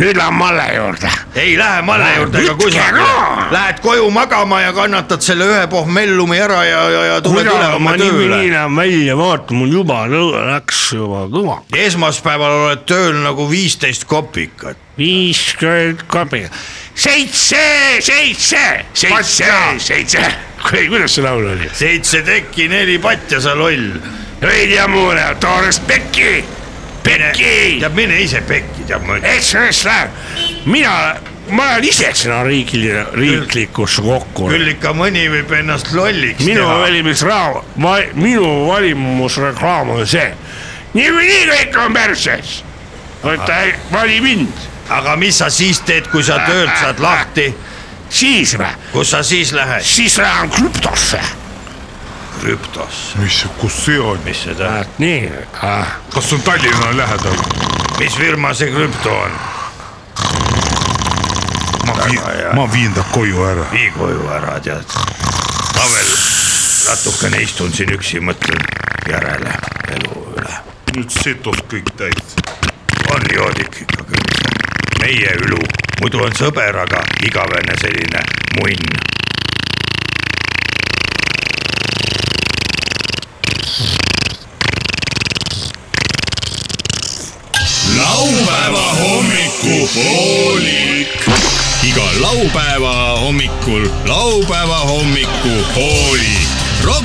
S5: nüüd lähen Malle juurde .
S4: ei lähe Malle juurde ega
S5: Võtke
S4: kusagile
S5: ka! .
S4: Lähed koju magama ja kannatad selle ühe pohmellumi ära ja , ja , ja tuled üle
S5: kuule , ma
S4: oma tööle
S5: niikuinii . lähen välja , vaata mul juba nõu- läks juba kõva .
S4: esmaspäeval oled tööl nagu viisteist kopikat .
S5: viiskümmend kapi , seitse , seitse , seitse , seitse . kuule , kuidas see laul oli ?
S4: seitse tekki , neli patja , sa loll .
S5: Rein Jammule , Toomas Pekki , Pekki ,
S4: tead , mine ise pekki , tead ma ütlen .
S5: SMS läheb , mina , ma olen ise sinna riikli , riiklikusse kokku .
S4: küll ikka mõni võib ennast lolliks
S5: minu
S4: teha .
S5: valimisraam , minu valimisreklaam on see , niikuinii kõik on perses . vaata , vali mind ,
S4: aga mis sa siis teed , kui sa töölt saad lahti ,
S5: siis või ,
S4: kus sa siis lähed ?
S5: siis lähen krüptosse .
S4: krüptosse .
S6: mis , kus see on ?
S4: mis see tähendab ?
S5: nii ah. ,
S6: kas see on Tallinna lähedal ?
S12: mis firma see krüpto on ?
S6: ma viin , ma viin ta koju ära .
S12: vii koju ära , tead . ma veel natukene istun siin üksi , mõtlen järele elu üle .
S6: nüüd setos kõik täis .
S12: on joodik ikka küll , meie ülu , muidu on sõber , aga igavene selline munn .
S7: laupäeva hommikupoolik . iga laupäeva hommikul laupäeva hommikupoolik . Rock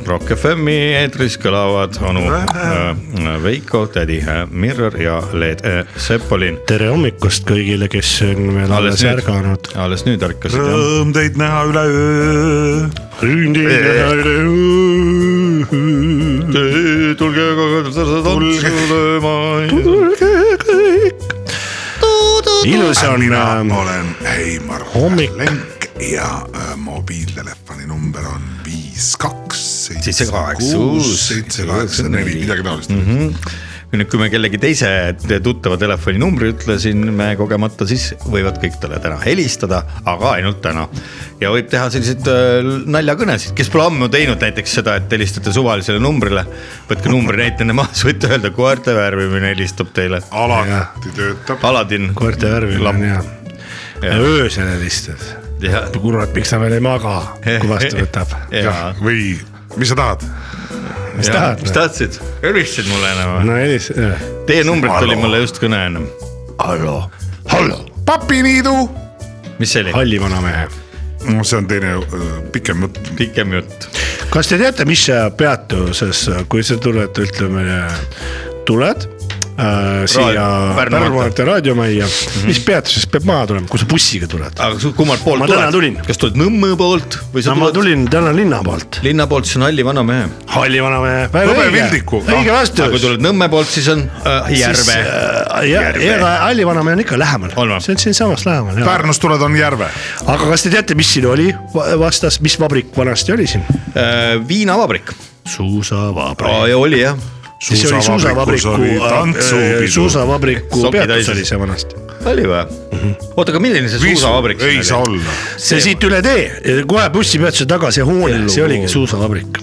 S4: Rock FM-i eetris kõlavad onu äh, Veiko , tädi äh, Mirror ja Leed äh, Sepolin .
S5: tere hommikust kõigile , kes on veel
S4: alles
S5: alles
S4: nüüd
S5: ärganud .,
S4: alles nüüd ärkasid jah .
S6: Rõõm teid näha üleöö .
S4: tulge aga tantsu lööma .
S5: ilus
S6: Äh, mina
S5: on ,
S6: olen Heimar
S5: hommik.
S6: Lenk ja äh, mobiiltelefoni number on viis , kaks ,
S4: Seitse,
S6: seitse ,
S4: kaheksa,
S6: kuus
S4: kuus, ,
S6: seitse , kaheksa , neli , midagi taolist mm .
S4: nüüd , kui me kellegi teise tuttava telefoninumbri ütlesin me kogemata , siis võivad kõik talle täna helistada , aga ainult täna . ja võib teha selliseid äh, naljakõnesid , kes pole ammu teinud näiteks seda , et helistate suvalisele numbrile . võtke numbri näitena maha , siis võite öelda koerte värvimine helistab teile .
S6: alati töötab .
S4: Aladin ,
S5: koerte värvimine on hea . öösel helistad ,
S4: ja ,
S5: kurat , miks ta veel ei maga , kui vastu võtab .
S4: ja ,
S6: või mis sa tahad ?
S5: mis
S4: ja , mis
S5: tahad ?
S4: tahtsid , helistasid mulle enam või ?
S5: no äh, helista ,
S4: Teie numbrit tuli mulle just kõne ennem ,
S13: papiniidu
S4: mis see oli ?
S5: halli vanamehe .
S6: no see on teine äh, pikem jutt .
S4: pikem jutt ,
S5: kas te teate , mis peatuses , kui sa tuled , ütleme , tuled äh, siia
S4: Pärnu
S5: Pärnu
S4: maantee. Mhm.
S5: maantee raadiomajja , mis peatuses peab maha tulema , kui sa bussiga tuled ?
S4: aga su- kummalt poolt
S5: Ma täna tulin.
S4: kas tuled Nõmme poolt või sa
S5: no ma
S4: tuled
S5: tulin täna linna poolt .
S4: linna poolt , siis on halli vanamehe .
S5: halli vanamehe , väga
S6: Nõmme
S5: õige
S6: Vildiku. ,
S5: õige
S4: Ah, aga kui
S5: vastus .
S4: tuled Nõmme poolt , siis on äh, Järve .
S5: ja ,
S4: Järve.
S5: ja aga halli vanamehe on ikka lähemal
S4: On või? ,
S5: see on siinsamas lähemal jah .
S6: Pärnust tuled , on Järve .
S5: aga kas te teate , mis siin oli va- vastas , mis vabrik vanasti oli siin ?
S4: Äh, viinavabrik
S5: suusavabrik .
S4: oh, , ja oli jah ,
S5: siis see oli
S6: Suusavabrikus
S5: suusavabriku
S6: oli , tantsupidu.
S5: suusavabriku
S4: Sokid
S5: äh, peatus
S4: haisesid.
S5: oli see vanasti .
S4: oli või mm -hmm. ? oota , aga milline see suusavabrik
S6: ei saa
S4: oli ?
S6: olla .
S5: see siit üle tee , kohe bussipeatuse taga see hoone , see oligi suusavabrik .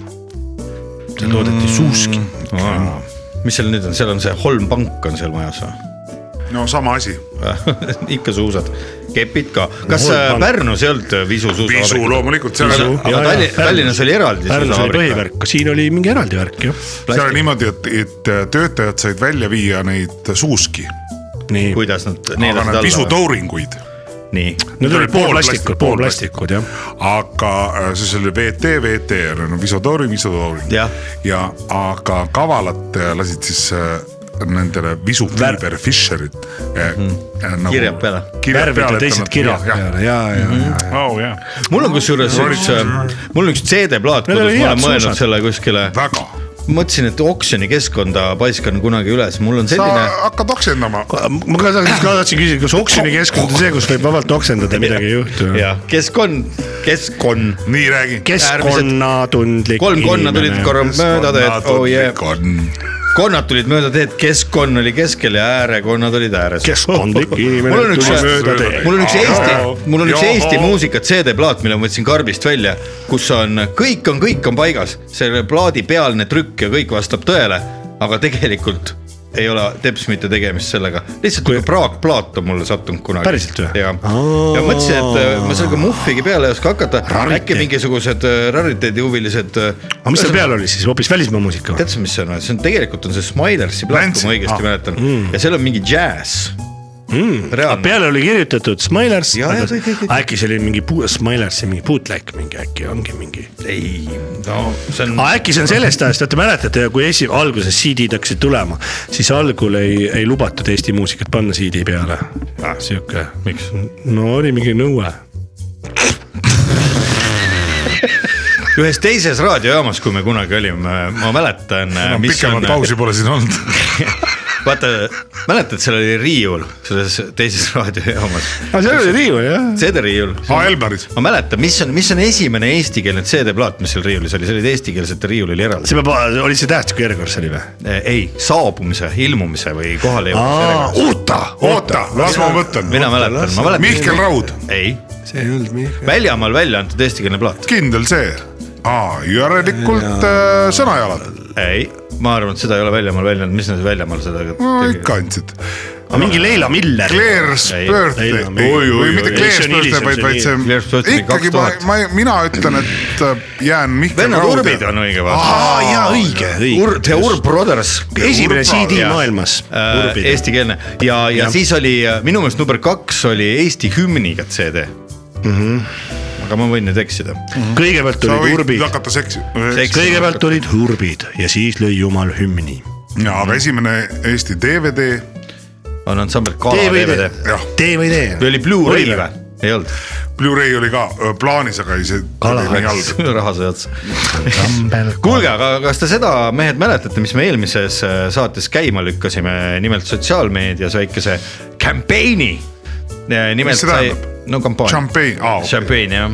S5: seal toodeti suuski .
S4: mis seal nüüd on , seal on see Holm pank on seal majas või ?
S6: no sama asi .
S4: ikka suusad , kepid ka , kas
S5: Holm
S4: äh,
S5: Pank.
S4: Pärnus ei olnud äh, Visu
S6: Visu
S4: suusavabrik ?
S6: loomulikult , seal on
S4: aga Tallin- Tallinnas oli eraldi
S5: Pärnus oli
S4: suusavabrik või?
S5: põhivärk , siin oli mingi eraldi värk jah .
S6: seal oli niimoodi , et , et äh, töötajad said välja viia neid äh, suuski ,
S5: nii ,
S4: kuidas nad
S6: aga
S4: neelasid
S6: nad
S4: alla ?
S6: pisutouringuid ,
S4: nii ,
S5: need olid poolplastikud ,
S6: poolplastikud,
S5: poolplastikud jah .
S6: aga äh, siis oli VT , VT on no, visotouring , visotouring
S4: Jah.
S6: ja aga kavalad äh, lasid siis äh, nendele visu Flieber Fischerit eh, eh, nagu,
S4: Mhm. Kirjad peale.
S6: kirjad
S5: värvid ja
S6: peale .
S5: teised kirjad peale ja , ja , ja .
S6: oh, jah.
S4: mul on kusjuures üks , mul on üks CD-plaat
S5: Need
S4: kodus ,
S5: olid
S4: ma
S5: head
S4: olen mõelnud
S5: suusad.
S4: selle kuskile
S6: väga ,
S4: mõtlesin , et oksjonikeskkonda paiskan kunagi üles , mul on
S6: sa
S4: selline .
S6: hakkad oksendama ,
S5: ma ka tahtsin , ka tahtsin küsida , kas oksjonikeskkond on see , kus võib vabalt oksendada , midagi ei juhtu ?
S4: jah , keskkond , keskkond ,
S6: nii räägi .
S5: keskkonnatundlik .
S4: kolm konna tulid korra mööda teed , oh yeah ,
S6: yeah. .
S4: konnad tulid mööda teed , keskkond oli keskel ja äärekonnad olid ääres .
S5: keskkondlik
S4: mul on
S5: inimene
S4: üks
S5: tuli mööda tee .
S4: mul on üks Eesti , mul on üks
S6: Joo.
S4: Eesti muusika CD-plaat , mille ma võtsin karbist välja , kus on kõik on , kõik on paigas , selle plaadi pealne trükk ja kõik vastab tõele , aga tegelikult ei ole teps mitte tegemist sellega , lihtsalt kui praakplaat on mulle sattunud kunagi .
S5: Päriselt või?
S4: ja , ja mõtlesin , et äh, ma sellega muffigi peale ei oska hakata , äkki mingisugused äh, rariteedihuvilised .
S5: aga mis seal peal oli siis , hoopis välismaa muusika või ?
S4: tead sa , mis see on , see on tegelikult on see Smilersi plaat , kui ma
S5: Ah.
S4: õigesti mäletan
S5: Mm.
S4: ja seal on mingi džäss . reaalne ,
S5: peale oli kirjutatud Smilers ,
S4: Jaa, jaa, kõik, kõik, kõik.
S5: äkki see oli mingi puu- , Smilersi mingi bootleg mingi äkki ongi mingi .
S4: ei no see on .
S5: aga äkki see on sellest ajast , et te mäletate , kui esi , alguses CD-d hakkasid tulema , siis algul ei , ei lubatud Eesti muusikat panna CD peale . Ah, Siuke , miks ? no oli mingi nõue .
S4: ühes teises raadiojaamas , kui me kunagi olime , ma mäletan .
S2: pikemat pausi pole siin olnud .
S4: vaata , mäletad , seal oli riiul selles teises raadiojaamas ,
S5: aga seal oli riiul jah .
S4: CD-riiul .
S2: aa , Elmaris .
S4: ma mäletan , mis on , mis on esimene eestikeelne CD-plaat , mis seal riiulis oli , see oli eestikeelsete riiulil eraldi .
S5: see peab , oli see tähtsuke järjekord see oli või ?
S4: ei , saabumise , ilmumise või
S5: Aa,
S4: kohalejõudmise .
S2: oota , oota , las ma mõtlen .
S4: mina mäletan , ma mäletan .
S2: Mihkel Raud ,
S4: ei ,
S5: see ei olnud Mihkel .
S4: väljamaal välja antud eestikeelne plaat .
S2: kindel see . aa , järelikult äh, sõnajalad .
S4: ei , ma arvan , et seda ei ole väljamaal välja antud , mis nad väljamaal seda
S2: no ikka andsid .
S5: mingi Leila Miller .
S2: Claire's
S4: Ei,
S2: birthday
S5: ei,
S2: ei,
S5: oi,
S2: või
S5: oi,
S2: mitte
S5: oi, see
S2: Claire's
S5: on hilisem,
S2: birthday , vaid ,
S5: see on
S2: vaid
S4: Claire's
S2: see
S4: birthday
S2: ikkagi ma
S4: 2000. ,
S2: ma , mina ütlen , et äh, jään Mihkel
S4: vennad
S2: Rauda .
S4: Nagu Urbid on õige vastus .
S5: aa jaa , õige , õige .
S4: Ur- , The Urb Brothers .
S5: esimene CD
S4: Jah.
S5: maailmas .
S4: Äh, eestikeelne ja , ja
S5: Jah.
S4: siis oli äh, minu meelest number kaks oli Eesti hümniga CD mm . -hmm. aga ma võin nüüd eksida .
S5: kõigepealt
S2: sa
S5: olid
S2: võid
S5: urbid ,
S2: hakata seksi .
S5: kõigepealt olid urbid ja siis lõi jumal hümni .
S2: jaa , aga esimene Eesti DVD ,
S4: on ansambel Kala DVD .
S2: jah ,
S5: tee või
S4: või
S5: tee .
S4: oli Blu-ray
S5: Oli
S4: või
S5: või? ?
S4: ei olnud ,
S2: Blu-ray oli ka öö, plaanis , aga ei see .
S4: raha sai otsa . kuulge , aga kas te seda , mehed , mäletate , mis me eelmises äh, saates käima lükkasime , nimelt sotsiaalmeedias väikese campaign'i . nimelt
S2: see
S4: sai
S2: tähendab? ,
S4: no kampaania .
S2: Champagne , aa ,
S4: šampein jah ,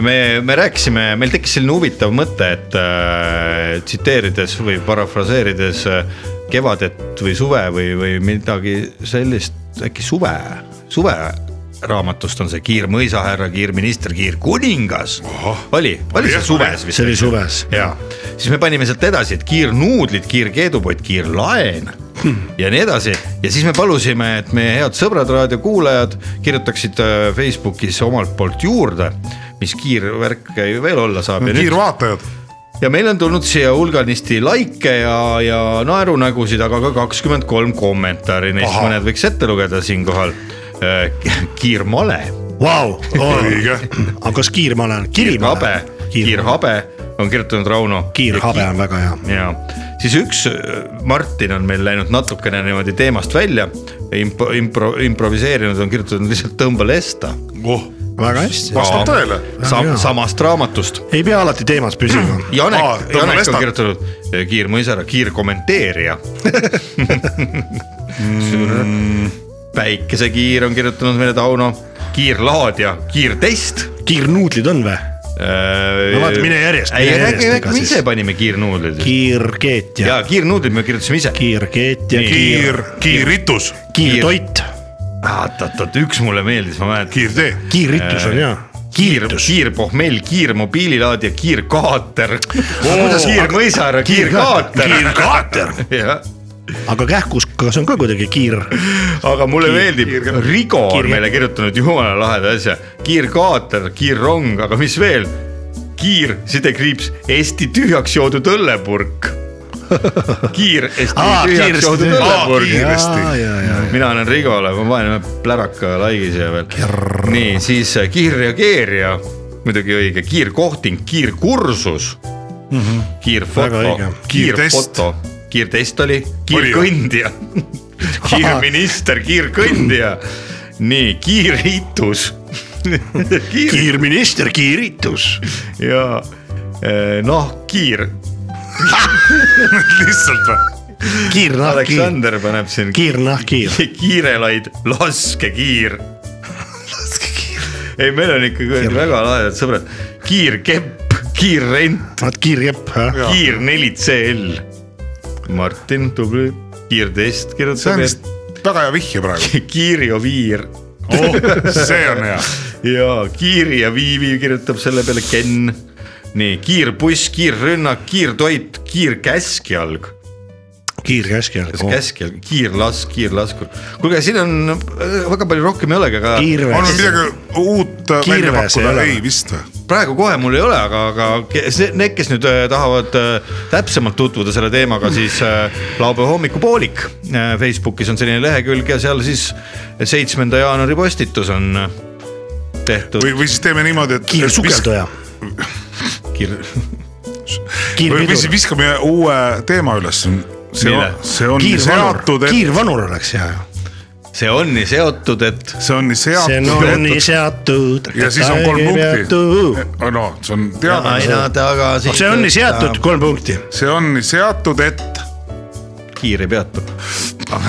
S4: me , me rääkisime , meil tekkis selline huvitav mõte , et äh, tsiteerides või parafraseerides äh, kevadet või suve või , või midagi sellist , äkki suve , suveraamatust on see kiirmõisahärra , kiirminister , kiirkuningas . oli , oli see suves vist ?
S5: see oli suves .
S4: ja siis me panime sealt edasi , et kiirnuudlid , kiirkeedupott , kiirlaen ja nii edasi ja siis me palusime , et meie head sõbrad , raadiokuulajad kirjutaksid äh, Facebookis omalt poolt juurde , mis kiirvärk veel olla saab .
S2: kiirvaatajad ,
S4: ja meil on tulnud siia hulganisti likee ja , ja naerunägusid , aga ka kakskümmend kolm kommentaari , neist
S2: Ahah.
S4: mõned võiks ette lugeda siinkohal . Äh, kiirmale ,
S5: Vau ,
S2: õige .
S5: aga kas kiirmale on ?
S4: kiirhabe
S5: kirimale ,.
S4: kiirhabe on kirjutanud Rauno .
S5: kiirhabe on väga hea .
S4: ja siis üks äh, Martin on meil läinud natukene niimoodi teemast välja imp, , impro, improviseerinud on kirjutanud lihtsalt Tõmba lesta .
S2: oh ,
S5: väga hästi .
S2: vastab tõele .
S4: Sam,
S5: jaa.
S4: samast raamatust .
S5: ei pea alati teemas püsima .
S4: Janek
S2: Aa,
S4: ah, ,
S2: Tõmba
S4: Janek
S2: Lesta.
S4: on kirjutanud eh, kiirmõisara , kiirkommenteerija mm. . päikesekiir on kirjutanud meile Tauno , kiirlaadja , kiirtest .
S5: kiirnuudlid on või ?
S4: no
S5: vaata, mine järjest,
S4: Äh, ei
S5: mine , järjest,
S4: äkki ,
S5: ega
S4: äkki me
S5: siis-
S4: ise panime kiirnuudlid .
S5: kiirkeet ja
S4: ja kiirnuudlid me kirjutasime ise .
S5: kiirkeet ja kiir ,
S2: kiir , kiirritus ,
S5: kiirtoit ,
S4: oot-oot-oot , üks mulle meeldis , ma mäletan .
S2: kiirtee .
S5: kiirritus on ja .
S4: kiir ,
S5: kiiritus .
S4: kiirpohmell , kiirmobiililaadija , kiirkaater .
S5: kuidas-
S4: kiirmõisar , kiirkaater .
S5: kiirkaater , aga kähkus , kas on ka kuidagi kiir ?
S4: aga mulle meeldib , Rigo on
S5: kiirkaater.
S4: meile kirjutanud jumala laheda asja , kiirkaater , kiirrong , aga mis veel ? kiir , sidekriips , Eesti tühjaks joodud õllepurk . kiir , Eesti
S5: Aa,
S4: tühjaks
S5: kiiresti-
S4: joodud
S5: aa,
S4: õllepurk .
S5: ja , ja , ja
S4: mina annan Rigole , ma panen pläraka laigi siia veel . nii , siis äh, kiirreageerija , muidugi õige , kiirkohting , kiirkursus mm . -hmm.
S5: Väga
S4: kiirfoto
S5: õige. ,
S2: Kiirtest.
S4: kiirfoto , kiirtest oli ,
S2: Oli,
S4: kiirkõndja , kiirminister , kiirkõndja , nii , kiirritus kiir... ,
S5: kiirminister , kiiritus .
S4: ja eh, nahkkiir ,
S2: lihtsalt või ?
S5: kiirnahkkiir ,
S4: Aleksander paneb siin
S5: kiirnahkkiir .
S4: kiirelaid , laskekiir . ei , meil on ikka kuradi väga lahedad sõbrad , kiirkepp , kiirrent ,
S5: vaat kiirjepp ,
S4: kiir neli CL . Martin , tubli , kiirtest
S2: see on
S4: kirjutab ,
S2: vist väga hea vihje praegu .
S4: et kiirioviir
S2: oh , see on hea .
S4: ja kiiri ja viivi kirjutab selle peale Ken . nii , kiirbuss , kiirrünnak , kiirtoit , kiirkäskjalg ,
S5: kiirkäskjalg .
S2: Oh.
S4: käskjalg , kiirlask , kiirlaskur . kuulge , siin on äh, väga palju rohkem ei olegi , aga
S2: on
S5: kiirväes
S2: meil , midagi uut äh, välja
S5: Kiirväes ei
S2: pakkuda ?
S5: ole.
S2: ei vist või ?
S4: praegu kohe mul ei ole , aga , aga ke- see- need , kes nüüd äh, tahavad äh, täpsemalt tutvuda selle teemaga , siis äh, laupäeva hommikupoolik äh, Facebookis on selline lehekülg ja seal siis seitsmenda jaanuari postitus on äh, tehtud
S2: või , või siis teeme niimoodi , et .
S5: kiirsukelduja ,
S4: Kir... .
S2: või või siis
S5: kiirpidur ,
S2: viskame uue teema üles . see on
S4: Mille? ,
S2: see on
S5: kiirvanur ,
S2: seatud ,
S5: kiirvanur oleks hea ju .
S4: see on nii seotud , et
S9: see on nii
S5: see
S9: seatud .
S5: on nii seatud .
S9: ja siis on kolm punkti . no see on teada ,
S4: aina tagasi .
S5: see on nii seatud , kolm punkti .
S9: see on nii seatud , et
S4: kiire peatub .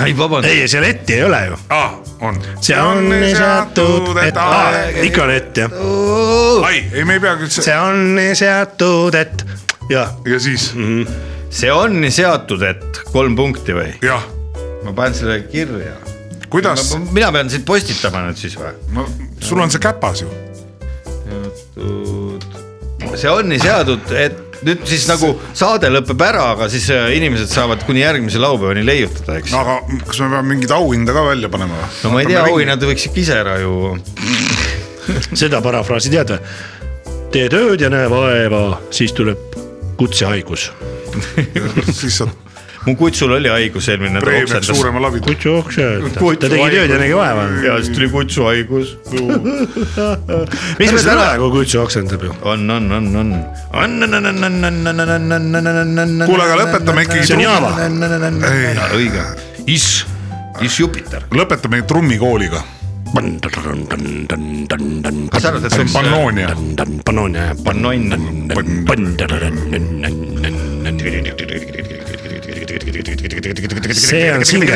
S4: ei , vabandust ,
S5: ei , seal etti ei ole ju .
S9: ah, on .
S5: see on nii seatud , et
S9: aeg .
S5: ah, , ikka on ett jah .
S9: ai , ei , me ei peagi üldse
S5: see on nii seatud , et jah ,
S9: ja siis
S4: see on nii seatud , et kolm punkti või ?
S9: jah ,
S4: ma panen selle kirja .
S9: kuidas ,
S4: mina pean siit postitama nüüd siis või ?
S9: no sul on see käpas ju .
S4: see on nii seatud , et nüüd siis nagu saade lõpeb ära , aga siis äh, inimesed saavad kuni järgmise laupäevani leiutada , eks .
S9: aga kas me peame mingeid auhinda ka välja panema või ?
S4: no ma ei tea , auhinnad võiks ikka ise ära ju .
S5: seda parafraasi tead või ? tee tööd ja näe vaeva , siis tuleb kutsehaigus .
S9: siis saad
S4: mu kutsul oli haigus eelmine
S9: preemiaks
S4: nädal .
S9: suurema lavi .
S5: kutsuhaigus , ta tegi tööd ja nägi vaeva .
S4: ja siis tuli kutsuhaigus . Ärme
S5: mis me
S4: täna-
S5: praegu kutsu oksendab ju ?
S4: on , on , on , on .
S9: kuule , aga lõpetame ikkagi .
S5: see on Java .
S4: õige , Is , Is Jupiter .
S9: lõpetame trummikooliga .
S4: kas sa arvad , et
S9: see on
S4: see on
S9: Pannonia .
S5: Pannonia .
S4: panonn ?
S5: see on singel .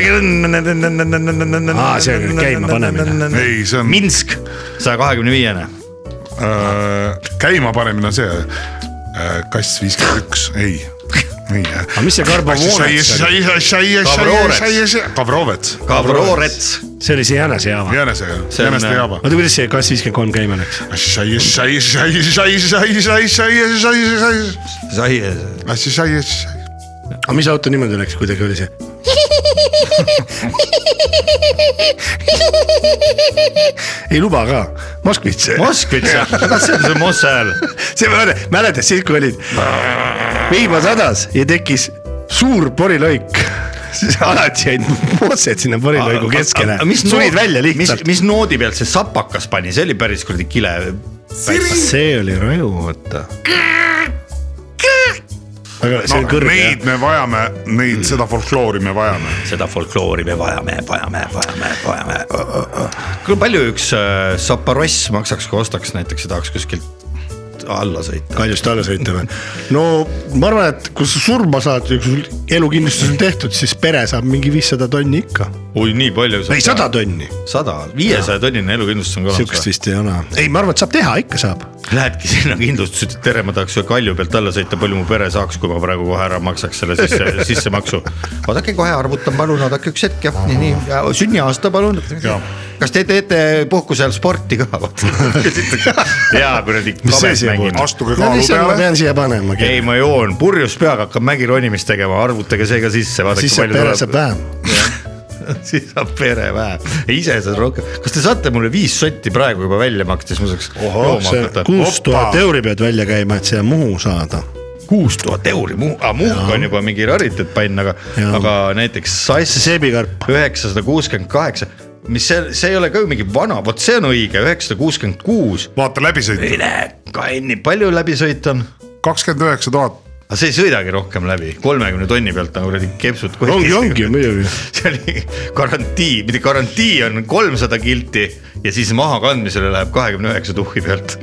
S5: aa , see on käimapanemine .
S9: ei , see on
S4: Minsk , saja kahekümne viiene .
S9: äh, käimapanemine on see äh, kass viiskümmend üks , ei , ei .
S5: aga mis see karbovoolets oli ?
S4: Gavrovets.
S9: Gavrovets .
S4: Gavroorets ,
S5: see oli see jänese jaama .
S9: jänese ,
S4: See on,
S9: jäneste
S4: äh,
S9: jaama .
S5: oota , kuidas see kass viiskümmend kolm käima läks ?
S4: sai ,
S5: aga mis auto niimoodi läks , kuidagi oli see ? ei luba ka , Moskvitš .
S4: Moskvits , kas see on see Moss hääl ?
S5: see ma mäletan , mäletad siis , kui olid , vihma sadas ja tekkis suur poriloik , siis alati jäid moosed sinna poriloigu keskele , tulid välja lihtsalt .
S4: mis noodi pealt see sapakas pani , see oli päris kuradi kile .
S5: see oli raju , vaata . aga see on kõrge jah
S9: Neid me vajame , neid , seda folkloori me vajame .
S4: seda folkloori me vajame , vajame , vajame , vajame . kui palju üks äh, sapoross maksaks , kui ostaks näiteks ja tahaks kuskilt alla sõita ?
S5: kaljust alla sõita või ? no ma arvan , et kui sa surma saad ja kui sul elukindlustus on tehtud , siis pere saab mingi viissada tonni ikka .
S4: oi , nii palju .
S5: ei , sada tonni ,
S4: sada , viiesaja tonnine elukindlustus on ka olemas
S5: sihukest
S4: või ?
S5: vist ei ole . ei , ma arvan , et saab teha , ikka saab .
S4: Lähedki sinna kindlustusse , ütled tere , ma tahaks ühe kalju pealt alla sõita , palju mu pere saaks , kui ma praegu kohe ära maksaks selle sisse , sissemaksu . oodake kohe arvutan , palun , oodake üks hetk jah , nii , nii , sünniaasta palun . kas te teete puhkuse ajal sporti ka ? jaa , kuradi .
S5: Mis see siia puutub?
S9: astuge
S5: no
S9: kaalu
S5: mis ma
S9: peale .
S5: pean siia panemagi ,
S4: ei , ma joon purjus peaga , hakkan mägironimist tegema , arvutage see ka sisse , vaadake
S5: siis see
S4: palju
S5: pere saab
S4: tuleb .
S5: vähem .
S4: siis saab pere vähem , ise saad rohkem . kas te saate mulle viis sotti praegu juba välja maksta , siis ma saaks jooma hakata ?
S5: kuus tuhat euri pead välja käima , et siia Muhu saada .
S4: kuus tuhat euri , aga muhk on juba mingi rariteetpann , aga ,
S5: Jaa.
S4: aga näiteks sass
S5: seebikarp ,
S4: üheksasada kuuskümmend kaheksa , mis see , see ei ole ka ju mingi vana , vot see on õige , üheksasada kuuskümmend kuus .
S9: vaata läbisõit ,
S4: mine kanni , palju läbisõit on ?
S9: kakskümmend üheksa tuhat .
S4: aga see ei sõidagi rohkem läbi , kolmekümne tonni pealt on kuradi kepsud .
S5: ongi , ongi ju muidugi .
S4: see oli garantii , mitte garantii on kolmsada kilti ja siis mahakandmisele läheb kahekümne üheksa tuhhi pealt .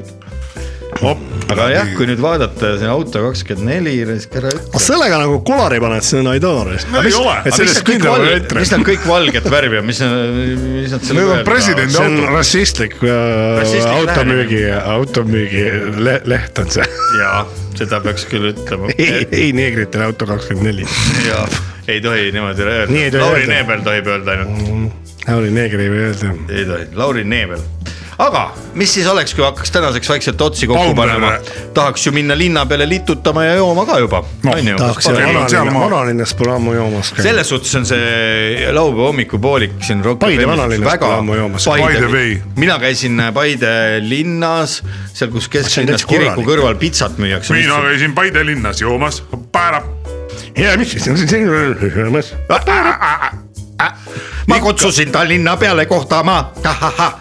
S4: aga jah , kui nüüd vaadata see auto kakskümmend neli , raisk ära ütle .
S5: sellega nagu kolari paned sinna Aidaare .
S9: ei ole.
S5: et sellest kindel ei ütle .
S4: mis nad kõik valget värvi on , mis , mis nad selle .
S9: Need on presidendi
S5: see on
S9: autod .
S5: rassistlik
S4: Rassistlik
S5: äh, automüügi
S4: lähenemine. ,
S5: automüügi le- leht on see .
S4: jaa , seda peaks küll ütlema .
S5: ei , ei neegritele auto kakskümmend neli .
S4: jaa , ei tohi niimoodi
S5: Nii
S4: öelda .
S5: ei tohi
S4: Lauri
S5: öelda.
S4: Neebel tohib öelda ainult ,
S5: Lauri Neegri ei või öelda .
S4: ei tohi , Lauri Neebel aga mis siis oleks , kui hakkaks tänaseks vaikselt otsi kokku
S9: Paunperre.
S4: panema , tahaks ju minna linna peale litutama ja jooma ka juba On ju?
S5: tahaks
S9: Parem on
S5: vanalinna ,
S9: sealmaal.
S5: vanalinnas pole ammu joomas käinud .
S4: selles suhtes on see laupäeva hommikupoolik siin .
S5: Paide vanalinnas pole ammu joomas.
S9: Paide vei.
S4: mina käisin Paide linnas , seal , kus
S5: täitsa
S4: kesklinnas kiriku
S5: korralik.
S4: kõrval pitsat müüakse .
S9: mina käisin Paide linnas joomas , päärab .
S5: ja mis siis on see , joomas .
S4: ma kutsusin ta linna peale kohtama , ahahah .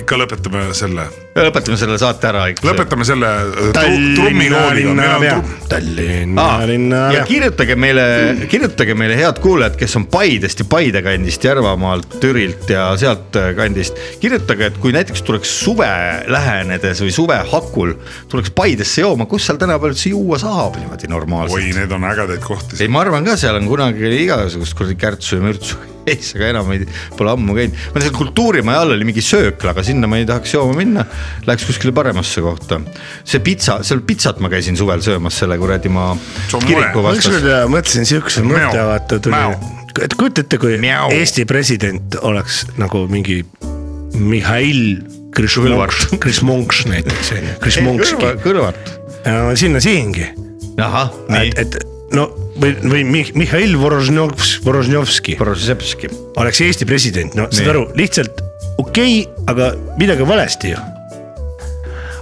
S9: ikka lõpetame selle ,
S4: lõpetame selle saate ära .
S9: lõpetame selle äh, tru- trumminooliga , meil on trumm ,
S5: Tallinna
S4: Ah, ja
S5: linnapea .
S4: kirjutage meile , kirjutage meile , head kuulajad , kes on Paidest ja Paide kandist , Järvamaalt , Türilt ja sealt äh, kandist . kirjutage , et kui näiteks tuleks suve lähenedes või suve hakul , tuleks Paidesse jooma , kus seal tänapäeval üldse juua saab niimoodi normaalselt ?
S9: oi , need on ägedaid kohti .
S4: ei , ma arvan ka , seal on kunagi oli igasugust kuradi kärtsu ja mürtsu ees , aga enam ei , pole ammu käinud . ma tean , kultuurimaja all oli mingi söökla , aga sinna ma ei tahaks jooma minna . Läheks kuskile paremasse kohta . see pitsa , seal pitsat ma käisin suvel söömas selle kuradi maa
S9: See on mure.
S4: kiriku
S5: ma
S4: vastas
S5: ükskord . mõtlesin siukse mõtte , vaata
S9: Mäo.
S5: tuli , et kujuta ette , kui
S4: Mäo.
S5: Eesti president oleks nagu mingi Mihhail Krishmonks , Krishmonks näiteks onju , Krishmonkski ,
S4: kõrvalt .
S5: sinna siingi ,
S4: ahah , nii
S5: et ,. et no või , või Mih- Mihhail Vorožnjovs- , Vorožnjovski
S4: Prozepski .
S5: oleks Eesti president , no saad
S4: Nii.
S5: aru , lihtsalt okei okay, , aga midagi on valesti ju .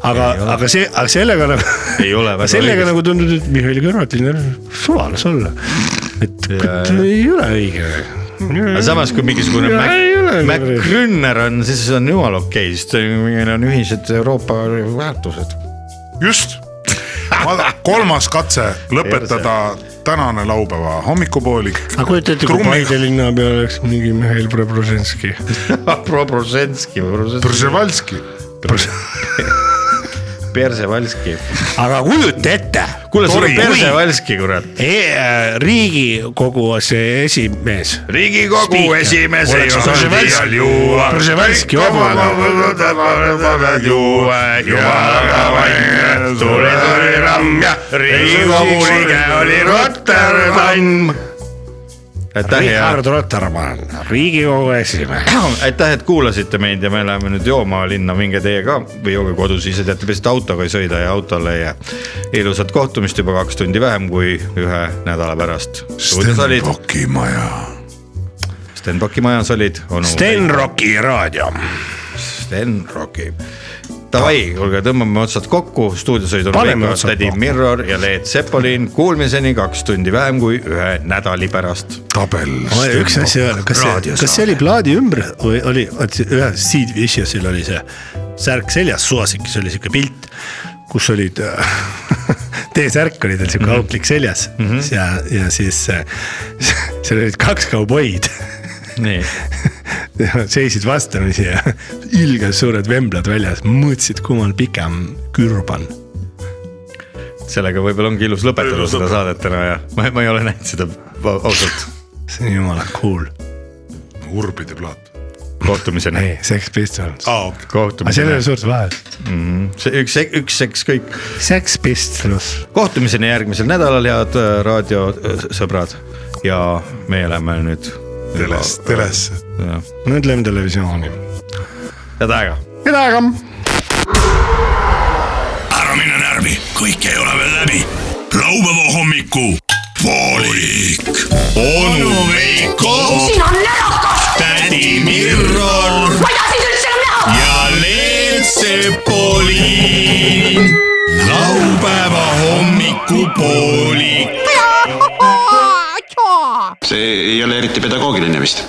S5: aga , aga see , aga sellega nagu
S4: Ei ole väga
S5: sellega
S4: õigesti.
S5: nagu tundub , et Mihhail Kõrvatil on suva las olla . et kurat, ei ole õige .
S4: aga samas , kui mingisugune
S5: Ja ei ole nagu
S4: Mac , Mac
S5: kuradi.
S4: Grünner on , siis on jumala okei , sest meil on ühised Euroopa väärtused .
S9: just , kolmas katse lõpetada tänane laupäeva hommikupoolik .
S5: aga kujuta ette , kui Paide linnapea oleks mingi Mihhail Preobrazhenski .
S4: Prozenski või Prozenski ,
S9: Przewalski ,
S4: Persevalski .
S5: aga kujuta ette ,
S4: kuule , sul on
S9: Oi,
S4: Persevalski , kurat .
S5: E, äh, riigikogu see esimees .
S14: riigikogu
S5: Spiiker.
S14: esimees ei
S5: Oleks
S14: osanud
S5: Brzezinski-
S14: iial juua .
S5: Brzezinski omaga.
S14: juua , jumalaga vann , tule tuli ramm ja riigikogu liige oli Rotterdam .
S4: aitäh ja
S5: Richard Rotermann , riigikogu esimees .
S4: aitäh , et kuulasite meid ja me läheme nüüd jooma linna , minge teie ka või jooge kodus ise , teate , lihtsalt autoga ei sõida ja autole ei jää . ilusat kohtumist juba kaks tundi vähem kui ühe nädala pärast . stuudios olid
S9: Stenbocki maja
S4: Stenbocki majas olid onu
S5: Stenrocki raadio .
S4: Stenrocki . Davai , kuulge , tõmbame otsad kokku , stuudios olid onu
S5: Paneme
S4: Veiko ,
S5: otsad
S4: tädi
S5: kokku.
S4: Mirror ja Leet Sepolin . Kuulmiseni kaks tundi vähem kui ühe nädala pärast .
S9: tabel .
S5: üks asi veel , kas see , kas see oli plaadi ümber või oli , vot ühel Sid Vicious'il oli see särk seljas , Suasikis oli sihuke pilt , kus olid T-särk oli tal sihuke auklik seljas mm -hmm. ja , ja siis äh, seal olid kaks kauboid
S4: nii ,
S5: Ja seisid vastamisi ja ilgelt suured vemblad väljas , mõõtsid , kummal pikem kürb on .
S4: sellega võib-olla ongi ilus lõpetada seda saadet täna ja ma, ma ei ole näinud seda ausalt .
S5: see on jumala cool ,
S9: Urbide plaat .
S4: kohtumiseni .
S5: ei , Sex Pistols . aga seal ei
S4: kohtumiseni
S5: ole , suurt vahet .
S4: üks , üks , eks kõik ,
S5: Sex Pistols .
S4: kohtumiseni järgmisel nädalal , head äh, raadiosõbrad ja me läheme nüüd .
S9: teles , telesse .
S5: nüüd lähme televisiooni .
S4: head aega
S5: head aega .
S7: ära mine närvi , kõik ei ole veel läbi . laupäeva hommiku poolik . onu Veiko ,
S15: siin on närakas ,
S7: tädi Mirror
S15: ma ei taha sind üldse enam näha .
S7: ja Leet Sepolin . laupäeva hommiku poolik .
S3: see ei ole eriti pedagoogiline vist